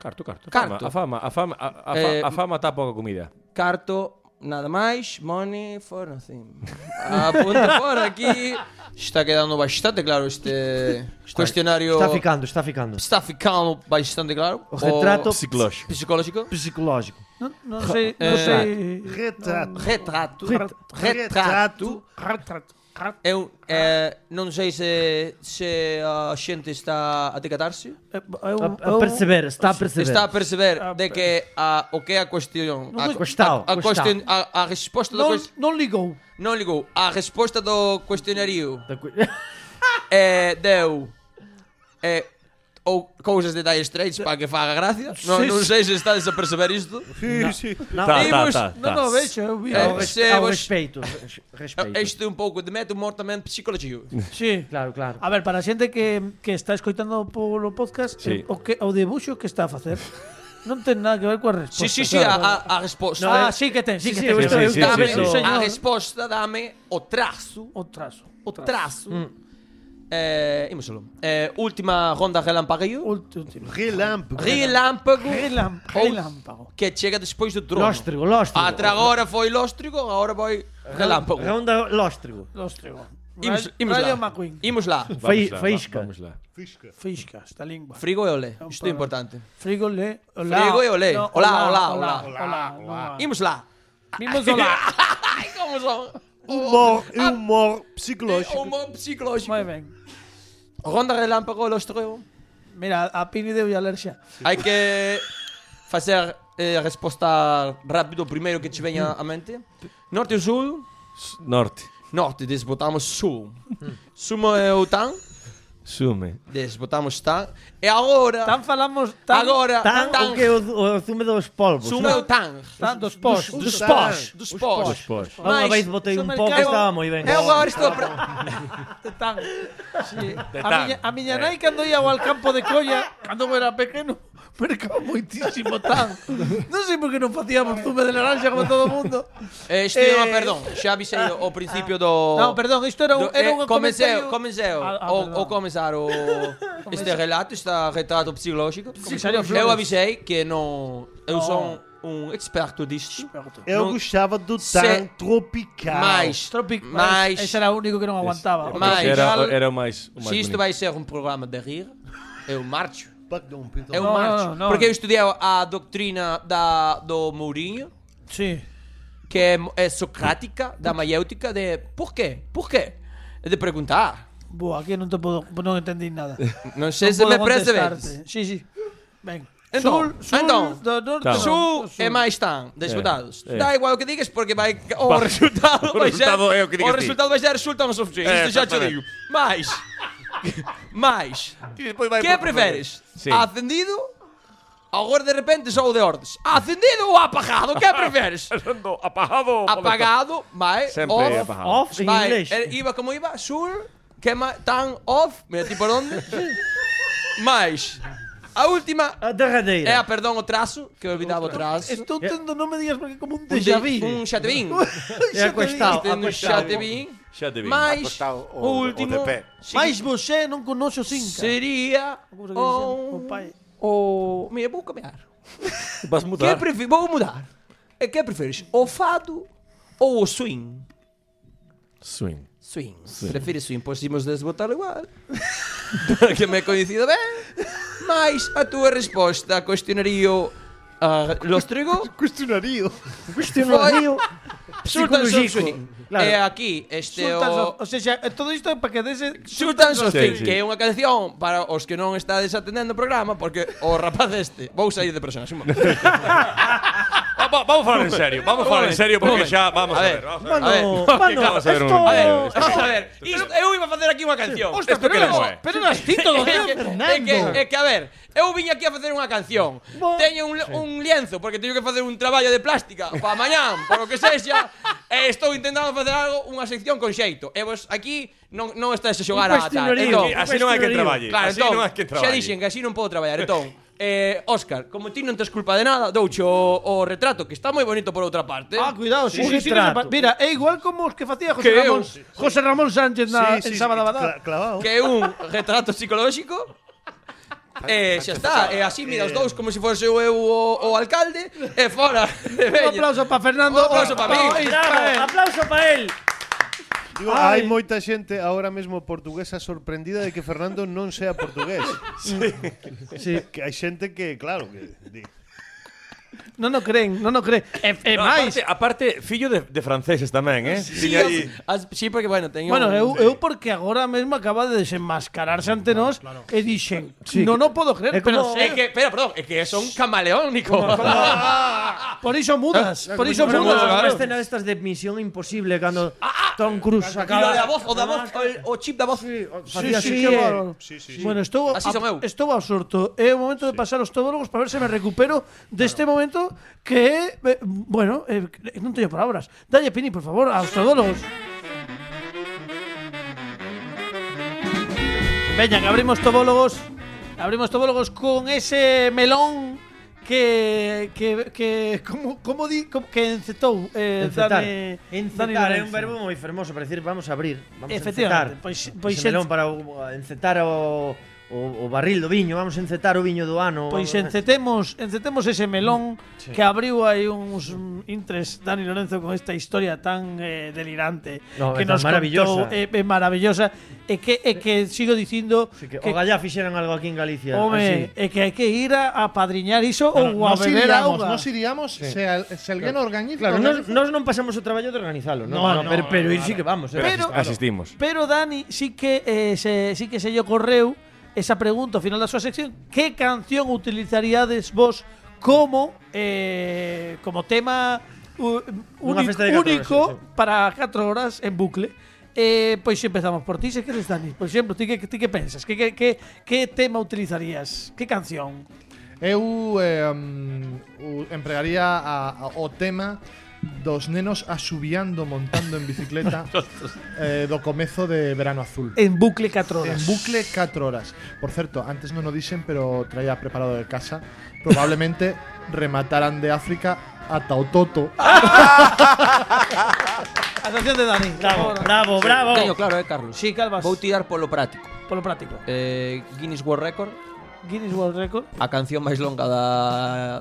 Speaker 7: Carto, carto.
Speaker 8: Carto.
Speaker 7: A fama, a fama, a, a,
Speaker 8: Eh,
Speaker 7: fa, a fama tapa a comida.
Speaker 8: Carto, nada máis, money for nothing. Apunta por aquí. Está quedando bastante claro este cuestionario.
Speaker 4: Está ficando, está ficando.
Speaker 8: Está ficando bastante claro.
Speaker 4: O retrato
Speaker 7: Psicológico.
Speaker 8: psicológico.
Speaker 4: psicológico.
Speaker 2: Non, non sei, non
Speaker 8: eh,
Speaker 2: sei...
Speaker 3: Retrato.
Speaker 8: Retrato. Retrato.
Speaker 3: Retrato.
Speaker 8: Eu eh, non sei se, se a xente está a decatarse.
Speaker 2: Eh, eu-
Speaker 4: A,
Speaker 2: eu-
Speaker 4: a perceber, está a perceber.
Speaker 8: Está a perceber de que a, o que é a cuestión
Speaker 2: Non
Speaker 8: a,
Speaker 2: me-
Speaker 4: Costao,
Speaker 8: a, a, cuestión, a, a resposta do
Speaker 2: Non,
Speaker 8: cues-
Speaker 2: non ligou.
Speaker 8: non ligou a resposta do cuestionario
Speaker 4: Da cu-
Speaker 8: é, deu é, ou cousas de Dire Straits para que faga gracia non,
Speaker 2: Sí,
Speaker 8: non
Speaker 2: sí.
Speaker 8: sei se estades a perceber isto
Speaker 3: Sí, sí.
Speaker 7: Tá, tá,
Speaker 8: Vimos-
Speaker 7: tá,
Speaker 2: Non,
Speaker 7: tá.
Speaker 2: non, vexo, eu vi.
Speaker 8: Eh,
Speaker 4: Ao, res-
Speaker 8: se
Speaker 4: ao
Speaker 8: vos-
Speaker 4: respeito. res- Respeito.
Speaker 8: isto é un pouco de meta humor tamén psicológico
Speaker 2: Sí.
Speaker 4: Claro,
Speaker 8: Ah,
Speaker 4: claro.
Speaker 2: A ver, para a xente que, que está escoitando polo podcast,
Speaker 7: Sí.
Speaker 2: eh, o, que, o debuxo que está a facer non ten nada que ver coa resposta.
Speaker 8: si, si, si, a, a, a resposta
Speaker 2: ah, sí que ten, sí, que
Speaker 4: Sí, sí,
Speaker 2: ten.
Speaker 4: eu estou- eu
Speaker 7: Sí, sí,
Speaker 4: estou a
Speaker 7: sí,
Speaker 4: ver
Speaker 7: sí.
Speaker 4: o-
Speaker 2: señor.
Speaker 8: a resposta dame o trazo
Speaker 2: O trazo. Mm.
Speaker 8: o trazo eh, imos solo eh, última ronda relampagueo
Speaker 2: Último.
Speaker 3: Relámpago.
Speaker 8: Relâmpago.
Speaker 2: Relam-
Speaker 8: Ou-
Speaker 2: Relâmpago.
Speaker 8: Que chega despois do trono.
Speaker 4: Lóstrigo, lóstrigo.
Speaker 8: Atra agora foi lóstrigo, agora vai relâmpago.
Speaker 4: Ronda lóstrigo.
Speaker 2: Lóstrego.
Speaker 8: Imos,
Speaker 2: Ra-
Speaker 8: imos
Speaker 2: Radio
Speaker 8: lá.
Speaker 2: McQueen.
Speaker 8: Imos lá.
Speaker 4: Fai-
Speaker 7: lá,
Speaker 4: faísca.
Speaker 7: Vamos lá.
Speaker 3: Fisca.
Speaker 2: Fisca, esta lingua.
Speaker 8: Frigo e olé. Isto é importante.
Speaker 2: Frigo le. Olá.
Speaker 8: Frigo e olé.
Speaker 2: No,
Speaker 8: Olá, olá,
Speaker 2: olá.
Speaker 8: olá.
Speaker 2: Olá, olá.
Speaker 8: Imos lá.
Speaker 2: Mimos olá.
Speaker 8: Ai, como son?
Speaker 3: Humor,
Speaker 8: Ah,
Speaker 3: humor
Speaker 8: é
Speaker 3: psicológico.
Speaker 8: humor psicológico.
Speaker 2: Moi ben.
Speaker 8: Ronda relâmpago e lóstrigo.
Speaker 2: Mira, a Pini deu a ler xa.
Speaker 8: Hai que facer eh, a resposta rápido primeiro que te veña a mente. Norte e sul.
Speaker 7: Norte.
Speaker 8: Norte, desbotamos sul.
Speaker 2: Mm.
Speaker 8: Sumo é o tan.
Speaker 7: Sume.
Speaker 8: Desbotamos tan. E agora...
Speaker 2: Tan falamos tan,
Speaker 8: Agora,
Speaker 4: Tan, o que é o, o zume dos polvos.
Speaker 8: Sumo é
Speaker 4: non?
Speaker 8: o tan.
Speaker 2: tan dos pós.
Speaker 4: Dos
Speaker 3: Dos
Speaker 4: pós.
Speaker 8: Dos
Speaker 7: Os
Speaker 8: pós.
Speaker 7: pós.
Speaker 4: Unha
Speaker 8: Mais, é
Speaker 4: vez botei un
Speaker 2: supermercado.
Speaker 4: pouco, estaba moi ben.
Speaker 8: Eu agora estou pra...
Speaker 2: tan. Sí. A
Speaker 8: Eh.
Speaker 7: tan.
Speaker 2: miña, a miña nai cando ia ao campo de colla, cando eu era pequeno, mercaba moitísimo tan. Non sei por que non facíamos zume de laranxa como todo o mundo.
Speaker 8: Eh, Isto
Speaker 2: Eh,
Speaker 8: é unha perdón, xa avisei ao principio do
Speaker 2: Non, perdón, isto era un
Speaker 8: do-
Speaker 2: era
Speaker 8: Oh. eh,
Speaker 2: un
Speaker 8: comeceu,
Speaker 2: comentario.
Speaker 8: comeceu
Speaker 2: Ah, é ah,
Speaker 8: o,
Speaker 2: perdón.
Speaker 8: o comezar o é este relato, este retrato psicolóxico.
Speaker 2: Comisario
Speaker 8: Eu
Speaker 2: Flores.
Speaker 8: avisei que non eu son
Speaker 2: Oh.
Speaker 8: un experto disto.
Speaker 3: Eu
Speaker 8: Non-
Speaker 3: gostava do
Speaker 8: Se-
Speaker 3: tan tropical.
Speaker 8: Mais,
Speaker 2: Tropic,
Speaker 8: mais,
Speaker 2: mais, ese era o único que non aguantaba.
Speaker 8: Máis.
Speaker 7: Porque Era, era o máis, o máis
Speaker 8: se isto
Speaker 7: bonito.
Speaker 8: vai ser un programa de rir, eu marcho.
Speaker 3: Perdão, perdão.
Speaker 8: Eu
Speaker 2: Não,
Speaker 8: marcho.
Speaker 2: não, não.
Speaker 8: Porque eu estudei a doutrina da, do Mourinho,
Speaker 2: Sí.
Speaker 8: que é, é socrática, da maiêutica, de por quê? Por quê? É de perguntar.
Speaker 2: Boa, aquí non te podo, non entendí nada.
Speaker 8: Não sei
Speaker 2: Non
Speaker 8: se
Speaker 2: podo
Speaker 8: me percebes.
Speaker 2: contestarte. Sí, sí. Ben.
Speaker 8: Então,
Speaker 2: sul, sul
Speaker 8: então.
Speaker 2: do norte,
Speaker 7: Tá.
Speaker 2: do
Speaker 8: Su
Speaker 2: sul.
Speaker 8: é mais tan, desbotados.
Speaker 7: É, é.
Speaker 8: Dá igual o que digas, porque vai, o,
Speaker 7: Vai.
Speaker 8: resultado
Speaker 7: O
Speaker 8: vai
Speaker 7: resultado
Speaker 8: ser,
Speaker 7: é o que digas
Speaker 8: o
Speaker 7: ti.
Speaker 8: resultado vai ser sultão sofrido.
Speaker 5: É,
Speaker 8: Isto já te
Speaker 5: exatamente.
Speaker 8: digo. Mas, mas,
Speaker 5: E depois vai
Speaker 8: ¿Qué
Speaker 5: para-
Speaker 8: prefieres?
Speaker 7: Sí.
Speaker 8: ¿Ascendido? Ahora de repente solo de ordes. ¿Ascendido o apagado? ¿Qué prefieres?
Speaker 7: Ando apagado.
Speaker 8: Apagado, mae,
Speaker 7: Sempre é
Speaker 8: off,
Speaker 7: apagado.
Speaker 4: Off en
Speaker 8: mae,
Speaker 4: inglés.
Speaker 8: er- iba como iba, sur, que é ma- tan off, mira ti por onde. Mais, a última
Speaker 4: A
Speaker 8: é a,
Speaker 4: derradeira.
Speaker 8: perdón, o trazo, que eu olvidaba o trazo.
Speaker 2: Estou tendo, non me digas porque como un
Speaker 8: Un Um de-
Speaker 2: déjà vu.
Speaker 8: Un xa te vin.
Speaker 4: É acostado,
Speaker 8: Un xa te
Speaker 4: acostado.
Speaker 8: vin.
Speaker 7: Xa te vin.
Speaker 8: Mais,
Speaker 5: Acostado
Speaker 8: o
Speaker 5: ou-
Speaker 8: último,
Speaker 5: ou de pé.
Speaker 8: sí,
Speaker 2: Mais você non conoce o Cinca.
Speaker 8: sería
Speaker 2: Como se dice,
Speaker 8: o...
Speaker 2: o pai.
Speaker 8: um O... Mira, vou caminhar.
Speaker 7: Vas
Speaker 8: Que
Speaker 7: mudar.
Speaker 8: prefe- Vou mudar. É que preferes? O fado ou o swing?
Speaker 7: Swing.
Speaker 8: Swing. Prefiro swing, pois imos desbotar igual. que me coñecido ben. Mas a túa resposta a cuestionario a los trigo
Speaker 3: Questionario.
Speaker 4: Cuestionario.
Speaker 8: sultan son
Speaker 4: Psicológico.
Speaker 8: swing.
Speaker 4: Claro.
Speaker 8: E aquí este
Speaker 2: Sultan
Speaker 8: o...
Speaker 2: Sof- o sea, xa- todo isto é para que dese
Speaker 8: Sultan
Speaker 7: Sultan
Speaker 8: Swing,
Speaker 7: Swing.
Speaker 8: que é unha canción para os que non estades atendendo o programa porque o rapaz este, vou sair de personaxe un momento.
Speaker 7: Ah, Va- va- vamos a falar en serio. Vamos a falar en serio porque
Speaker 8: Vamos a
Speaker 7: xa vamos a
Speaker 8: ver.
Speaker 7: ver. vamos a ver.
Speaker 4: Mano,
Speaker 8: A ver,
Speaker 4: mano,
Speaker 7: acabas de ver un-
Speaker 4: esto-
Speaker 8: A ver, Eh, vamos a ver. Isto, eu iba a facer aquí unha canción.
Speaker 2: Ostras,
Speaker 7: Esto
Speaker 2: pero
Speaker 7: que
Speaker 2: eras-
Speaker 7: non é.
Speaker 2: Pero eras tito do
Speaker 8: É que- é que,
Speaker 2: Fernando.
Speaker 8: é que, a ver, eu vim aquí a facer unha canción. Teño un, un lienzo porque teño que facer un traballo de plástica para mañán, por o que sexa, e estou intentando facer algo, unha sección con xeito. E vos aquí non, non estáis a xogar
Speaker 4: Un
Speaker 8: a tal.
Speaker 4: cuestionario.
Speaker 8: Entón,
Speaker 4: Un
Speaker 7: Así non hai que traballe.
Speaker 8: Claro,
Speaker 7: así
Speaker 8: entón,
Speaker 7: non hai que
Speaker 8: xa
Speaker 7: traballe.
Speaker 8: dixen que así non podo traballar. Entón, eh, Óscar, como ti non tes culpa de nada, douche o, o retrato, que está moi bonito por outra parte.
Speaker 2: Ah, cuidado, sí,
Speaker 4: Un
Speaker 2: sí, sí,
Speaker 4: retrato.
Speaker 2: no se pa- Mira, é igual como os que facía José
Speaker 8: Que
Speaker 2: Ramón,
Speaker 8: eu- sí,
Speaker 2: José Ramón Sánchez na, en Sábado Abadá.
Speaker 3: cla- Clavado.
Speaker 8: que é un retrato psicolóxico. Eh, xa está, e así mira
Speaker 2: Eh.
Speaker 8: os dous como se fose eu o, o alcalde e fora. de
Speaker 2: Un
Speaker 8: veña.
Speaker 2: aplauso para Fernando. Oh, eh,
Speaker 8: Un aplauso pa min.
Speaker 2: Ismael.
Speaker 4: Bravo, aplauso para él.
Speaker 3: Digo,
Speaker 2: Ai.
Speaker 3: hai moita xente ahora mesmo portuguesa sorprendida de que Fernando non sea portugués. sí. Que hai xente que, claro, que di,
Speaker 2: Non o creen, non o creen. E, e
Speaker 7: No,
Speaker 2: máis,
Speaker 7: aparte, aparte, fillo de, de franceses tamén, eh?
Speaker 8: Sí,
Speaker 7: Tiña aí-
Speaker 8: as- sí, porque bueno, teño
Speaker 2: Bueno,
Speaker 8: un-
Speaker 2: eu, eu porque agora mesmo acaba de desenmascararse ante nós e dixen, non o podo creer,
Speaker 4: É como-
Speaker 2: pero sei,
Speaker 8: É que, pero, perdón, é que son camaleónico.
Speaker 2: por iso mudas,
Speaker 8: Ah,
Speaker 2: por iso
Speaker 4: Como
Speaker 2: mudas.
Speaker 4: unha
Speaker 8: claro.
Speaker 4: escena destas de Misión Imposible cando
Speaker 2: Ah,
Speaker 4: Tom Cruise
Speaker 8: o
Speaker 4: sacaba
Speaker 8: da voz, o da voz, o, o chip da voz.
Speaker 2: Sí,
Speaker 4: facía
Speaker 2: sí,
Speaker 4: así,
Speaker 2: que
Speaker 4: eh.
Speaker 2: bárbaro. Bueno, estou,
Speaker 8: Así son eu.
Speaker 2: estou absorto. É o momento de pasar os todólogos para ver se me recupero deste momento que é, eh, bueno, eh, non teño palabras. Dalle Pini, por favor, aos todólogos. Veña, que abrimos tobólogos. Abrimos tobólogos con ese melón que que que como como di como que encetou eh
Speaker 4: Encetar.
Speaker 2: Dani- Dani
Speaker 4: Encetar é eh, un
Speaker 2: Lorenzo.
Speaker 4: verbo moi fermoso para decir vamos a abrir, vamos a
Speaker 2: Efectivamente, Pues,
Speaker 4: encetar.
Speaker 2: pois- pois
Speaker 4: Ese melón
Speaker 2: en-
Speaker 4: para o- uh, encetar o, o, o barril do viño, vamos a encetar o viño do ano.
Speaker 2: Pois
Speaker 4: vamos-
Speaker 2: encetemos, encetemos ese
Speaker 4: Mm,
Speaker 2: melón que abriu aí uns mm, intres Dani Lorenzo con esta historia tan eh, delirante
Speaker 4: No,
Speaker 2: que
Speaker 4: é
Speaker 2: nos
Speaker 4: tan maravillosa.
Speaker 2: contou, é, é maravillosa e que e que sigo dicindo
Speaker 4: Así que,
Speaker 2: que,
Speaker 4: oga ya fixeran algo aquí en Galicia.
Speaker 2: home, é
Speaker 4: así.
Speaker 2: que hai que ir a, a padriñar iso ou a
Speaker 6: nos
Speaker 2: beber
Speaker 6: iríamos,
Speaker 2: auga.
Speaker 6: nos iríamos se, al- se alguén organiza.
Speaker 4: Claro, nos,
Speaker 6: organiza-
Speaker 4: nos non pasamos o traballo de organizalo, non?
Speaker 6: No, no,
Speaker 4: pero, pero ir sí que vamos, eh.
Speaker 2: Pero-
Speaker 7: Asistimos.
Speaker 2: Pero Dani sí que eh, se, sí que se lle ocorreu esa pregunta ao final da súa sección, que canción utilizaríades vos como eh, como tema u-
Speaker 4: Unha
Speaker 2: único,
Speaker 4: festa de catro
Speaker 2: único
Speaker 4: horas, sí,
Speaker 2: para 4 horas en bucle? Eh, pois empezamos por ti, se queres Dani. Por exemplo, ti que ti que pensas? Que que, que que tema utilizarías? Que canción?
Speaker 6: eh, um, Eu eh, mm, u- empregaría a- a- o tema dos nenos asubiando montando en bicicleta eh, do comezo de verano azul.
Speaker 2: En bucle 4 horas.
Speaker 6: En bucle 4 horas. Por certo, antes non o dixen, pero traía preparado de casa. Probablemente remataran de África ata o Toto.
Speaker 2: Atención de Dani.
Speaker 4: Bravo, bravo, bravo.
Speaker 8: Teño claro, eh, Carlos.
Speaker 2: Sí, Calvas.
Speaker 8: Vou tirar polo práctico.
Speaker 2: Polo práctico.
Speaker 8: Eh, Guinness World Record,
Speaker 2: Guinness World Record.
Speaker 8: a canción máis longa da,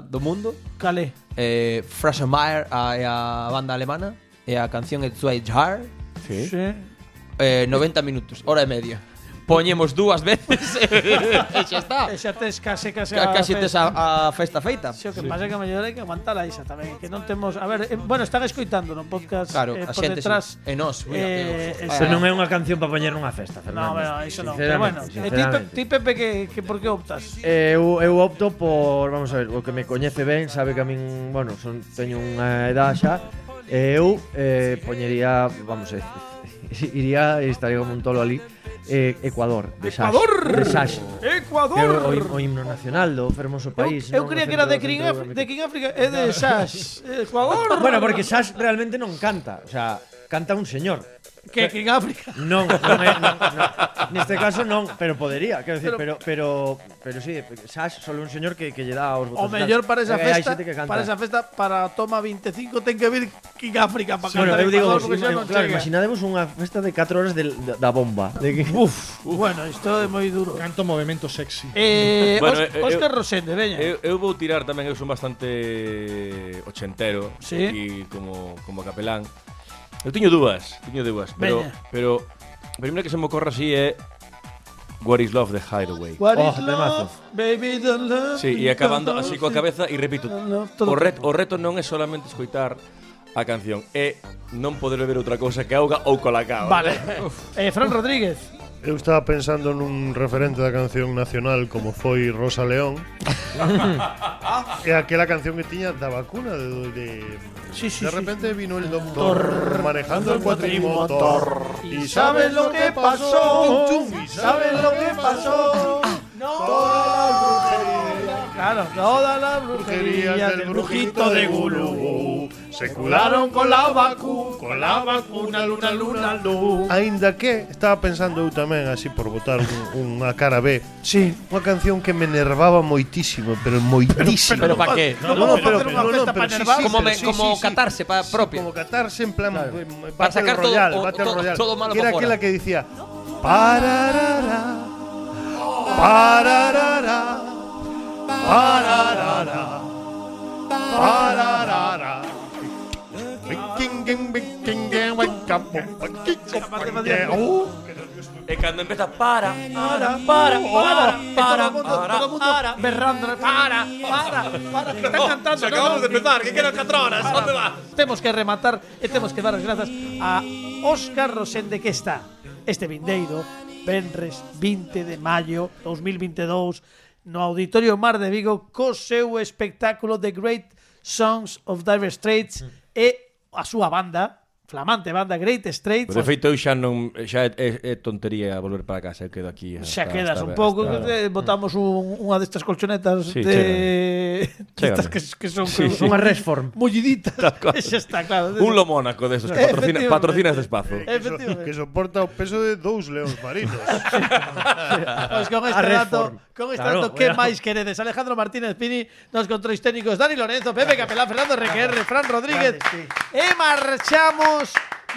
Speaker 8: do mundo.
Speaker 2: Calé.
Speaker 8: Eh, Frasher Mayer a, é a banda alemana. E a canción é Zweit Jahr.
Speaker 7: Sí.
Speaker 8: Eh, 90 minutos, hora e media. Poñemos dúas veces e xa está.
Speaker 2: E xa tes case, case
Speaker 8: Ca- Casi
Speaker 2: fe-
Speaker 8: tes a, a festa feita.
Speaker 2: Sí, o que pasa é que a mellor hai que aguantar a Isa tamén Que non temos... A ver, eh, bueno, están escoitando no podcast
Speaker 8: Claro,
Speaker 2: eh,
Speaker 8: a
Speaker 2: por
Speaker 8: xente
Speaker 2: detrás
Speaker 8: sí. E nós, mira,
Speaker 2: eh,
Speaker 8: que-
Speaker 2: esa-
Speaker 4: Pero non é unha canción para poñer nunha festa,
Speaker 2: No,
Speaker 4: Fernández.
Speaker 2: bueno, iso non Pero bueno, eh, ti, Pe- ti Pepe, que, que por que optas?
Speaker 10: Eh, eu, eu opto por, vamos a ver, o que me coñece ben, sabe que a min, bueno, son, teño unha edad xa, e eu eh, poñería, vamos a iría e estaría como un tolo ali, eh, Ecuador, de Sash.
Speaker 2: Ecuador!
Speaker 10: De Sash. Que é o, o, him-
Speaker 2: ¡Ecuador!
Speaker 10: o himno nacional do fermoso
Speaker 2: Eu,
Speaker 10: país.
Speaker 2: eu
Speaker 10: non?
Speaker 2: creía
Speaker 10: O
Speaker 2: que era de
Speaker 10: centro-
Speaker 2: King,
Speaker 10: centro-
Speaker 2: Af- de King Africa, é de Sash, Ecuador.
Speaker 10: Bueno, porque Sash realmente non canta, o sea, canta un señor.
Speaker 2: que King Africa.
Speaker 10: Non, non é, non, non. Neste este caso non, pero podería, quero decir, pero pero pero, sí, Sash solo un señor que que lle dá os
Speaker 2: O
Speaker 10: botones.
Speaker 2: mellor para esa
Speaker 10: Eh, hai
Speaker 2: festa,
Speaker 10: xente que canta.
Speaker 2: para esa festa para toma 25 ten que vir King Africa para
Speaker 10: Sí, bueno,
Speaker 2: cantar.
Speaker 10: eu
Speaker 2: en
Speaker 10: digo,
Speaker 2: Ecuador,
Speaker 10: vos,
Speaker 2: porque xa
Speaker 10: ima-
Speaker 2: non
Speaker 10: claro,
Speaker 2: chega.
Speaker 10: imaginademos unha festa de 4 horas del, da, da bomba. De que, uf,
Speaker 2: Bueno, isto é moi duro.
Speaker 6: Canto movimento sexy.
Speaker 2: Eh,
Speaker 7: Bueno,
Speaker 2: Os-
Speaker 7: eh,
Speaker 2: Óscar
Speaker 7: eu-
Speaker 2: Rosende, veña.
Speaker 7: Eu, eu vou tirar tamén, eu son bastante ochentero
Speaker 2: Sí.
Speaker 7: e como, como capelán. Eu teño dúas, teño dúas, pero,
Speaker 2: Veña.
Speaker 7: pero a primeira que se me ocorre así é What is Love de Hideaway.
Speaker 2: What
Speaker 10: Oh,
Speaker 2: is love,
Speaker 10: temazo.
Speaker 2: baby, don't love
Speaker 7: Sí,
Speaker 2: me,
Speaker 7: e acabando
Speaker 2: don't
Speaker 7: así
Speaker 2: love
Speaker 7: coa
Speaker 2: me.
Speaker 7: cabeza e repito,
Speaker 2: No, todo
Speaker 7: o, ret,
Speaker 2: o
Speaker 7: o reto non é solamente escoitar a canción, é non poder beber outra cousa que auga ou colacao.
Speaker 2: Vale. eh, Fran Rodríguez.
Speaker 3: Eu estaba pensando nun referente da canción nacional como foi Rosa León. e aquela canción que tiña da vacuna de, de
Speaker 2: Sí, sí,
Speaker 3: De
Speaker 2: sí.
Speaker 3: repente vino el doctor manejando el cuatrimotor
Speaker 2: Y sabe lo que pasó,
Speaker 3: y sabe
Speaker 2: ¿Sabes lo que pasó? Claro, todas las brujerías del brujito de Gulú.
Speaker 3: se
Speaker 2: Cularon
Speaker 3: cularon
Speaker 2: con la vacuna, con la vacuna, luna, luna, luna.
Speaker 3: Ainda que estaba pensando eu tamén así por botar un, unha cara B. Sí, unha canción que me enervaba moitísimo, pero moitísimo.
Speaker 8: Pero pa Ah. que?
Speaker 2: No, vamos
Speaker 3: pero-
Speaker 2: a hacer
Speaker 3: pero-
Speaker 2: una festa
Speaker 3: pero
Speaker 2: para
Speaker 3: sí,
Speaker 2: Nervás.
Speaker 3: sí,
Speaker 8: Como,
Speaker 3: pero
Speaker 8: me, como catarse pa, propia.
Speaker 3: Como catarse en plan eh,
Speaker 8: Para
Speaker 3: Battle
Speaker 8: sacar todo-
Speaker 3: Royale,
Speaker 8: o-
Speaker 3: Battle
Speaker 8: todo-
Speaker 3: Royale.
Speaker 8: todo malo
Speaker 3: que era
Speaker 8: pa fuera.
Speaker 3: aquela que decía pararara pararara pararara pararara Oh,
Speaker 7: E cando empeza para,
Speaker 2: Para, para, para, para, Oh, todo el mundo berrando, para, para, para, que están cantando. no, no, que-
Speaker 7: que quedan 4 horas, onde va?
Speaker 2: Temos que rematar e temos que dar as grazas a Óscar Rosende que está este vindeiro, Benres 20 de maio 2022, no Auditorio Mar de Vigo, co seu espectáculo The Great Songs of Dire Straits e a súa banda, flamante banda Great Straits,
Speaker 7: De feito, eu xa non xa é, é, é tontería volver para casa, eu quedo aquí.
Speaker 2: Xa
Speaker 7: hasta-
Speaker 2: quedas
Speaker 7: hasta-
Speaker 2: un pouco,
Speaker 7: hasta-
Speaker 2: que te botamos un, unha destas colchonetas
Speaker 7: Sí,
Speaker 2: de
Speaker 7: chégame.
Speaker 2: estas que, que son
Speaker 7: Sí, sí.
Speaker 10: unha resform.
Speaker 2: molliditas.
Speaker 7: Tal cual.
Speaker 2: Xa está, claro.
Speaker 7: Un lo mónaco desos, patrocina,
Speaker 2: Efectivamente.
Speaker 7: patrocina este espazo.
Speaker 2: Efectivamente.
Speaker 3: que soporta o peso de dous leóns marinos.
Speaker 2: Pois con
Speaker 10: A
Speaker 2: este
Speaker 10: Red
Speaker 2: dato,
Speaker 10: Form.
Speaker 2: con este
Speaker 10: Claro,
Speaker 2: dato, que
Speaker 10: bueno.
Speaker 2: máis queredes? Alejandro Martínez Pini, nos controis técnicos Dani Lorenzo, Pepe Capelán, Fernando RQR, Fran Rodríguez. E marchamos,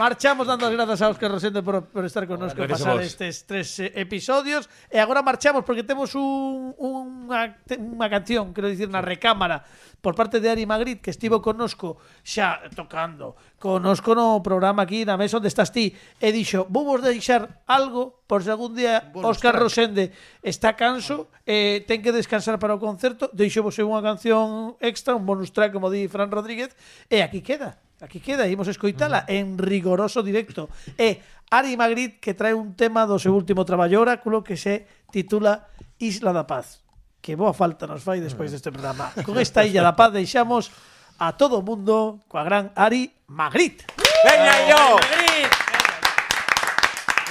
Speaker 2: marchamos dando as grazas a Óscar Rosende por, por estar connosco e
Speaker 7: Gracias a
Speaker 2: pasar
Speaker 7: vos.
Speaker 2: estes tres eh, episodios. E agora marchamos porque temos un, unha, te- unha canción, quero dicir, na recámara por parte de Ari Magritte que estivo connosco xa tocando conosco no programa aquí na mesa onde estás ti e dixo, vou vos deixar algo por se algún día Óscar Rosende está canso eh, ten que descansar para o concerto deixo vos unha canción extra un bonus track como di Fran Rodríguez e aquí queda Aquí queda, imos escoitala en rigoroso directo. E Ari Magritte que trae un tema do seu último traballo oráculo que se titula Isla da Paz. Que boa falta nos fai despois deste programa. Con esta Illa da Paz deixamos a todo o mundo coa gran Ari Magritte.
Speaker 5: Veña yo.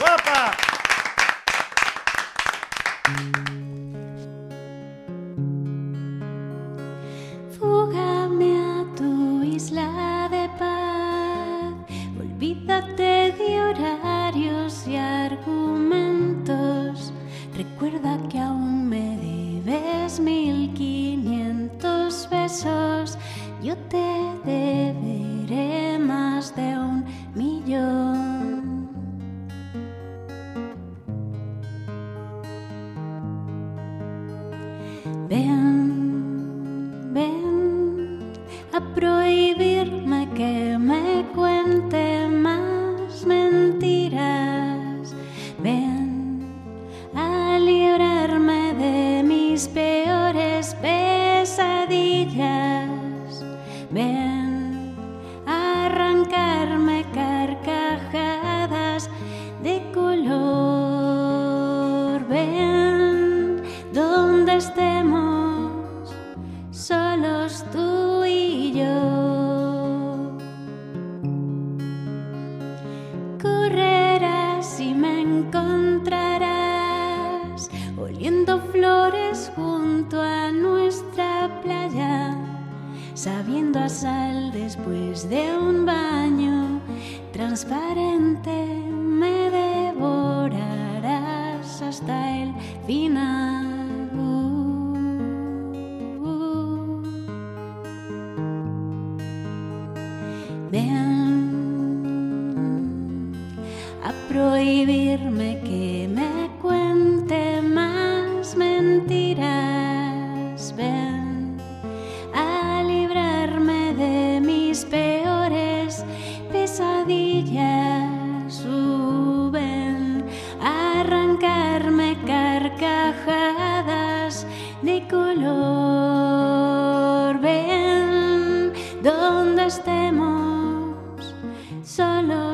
Speaker 2: Guapa!
Speaker 9: Fúgame a tu isla de paz.
Speaker 7: Olvídate de horarios y argumentos. Recuerda que aún me debes 1500 besos. Yo te deberé más de un millón. Ven, ven a prohibirme que me cuente más mentiras. Ven a librarme de mis peores pesadillas. Ven a arrancarme carcajadas de color. Ven donde estemos solos tú y yo. Correrás y me encontrarás oliendo flores junto a nuestra playa, sabiendo a sal después de un baño transparente. Me devorarás hasta el final. Uh, uh. Ven a prohibirme que me cuente más mentiras. Ven a librarme de mis peores pesadillas. Suben a arrancarme carcajadas de color. Ven donde estemos solo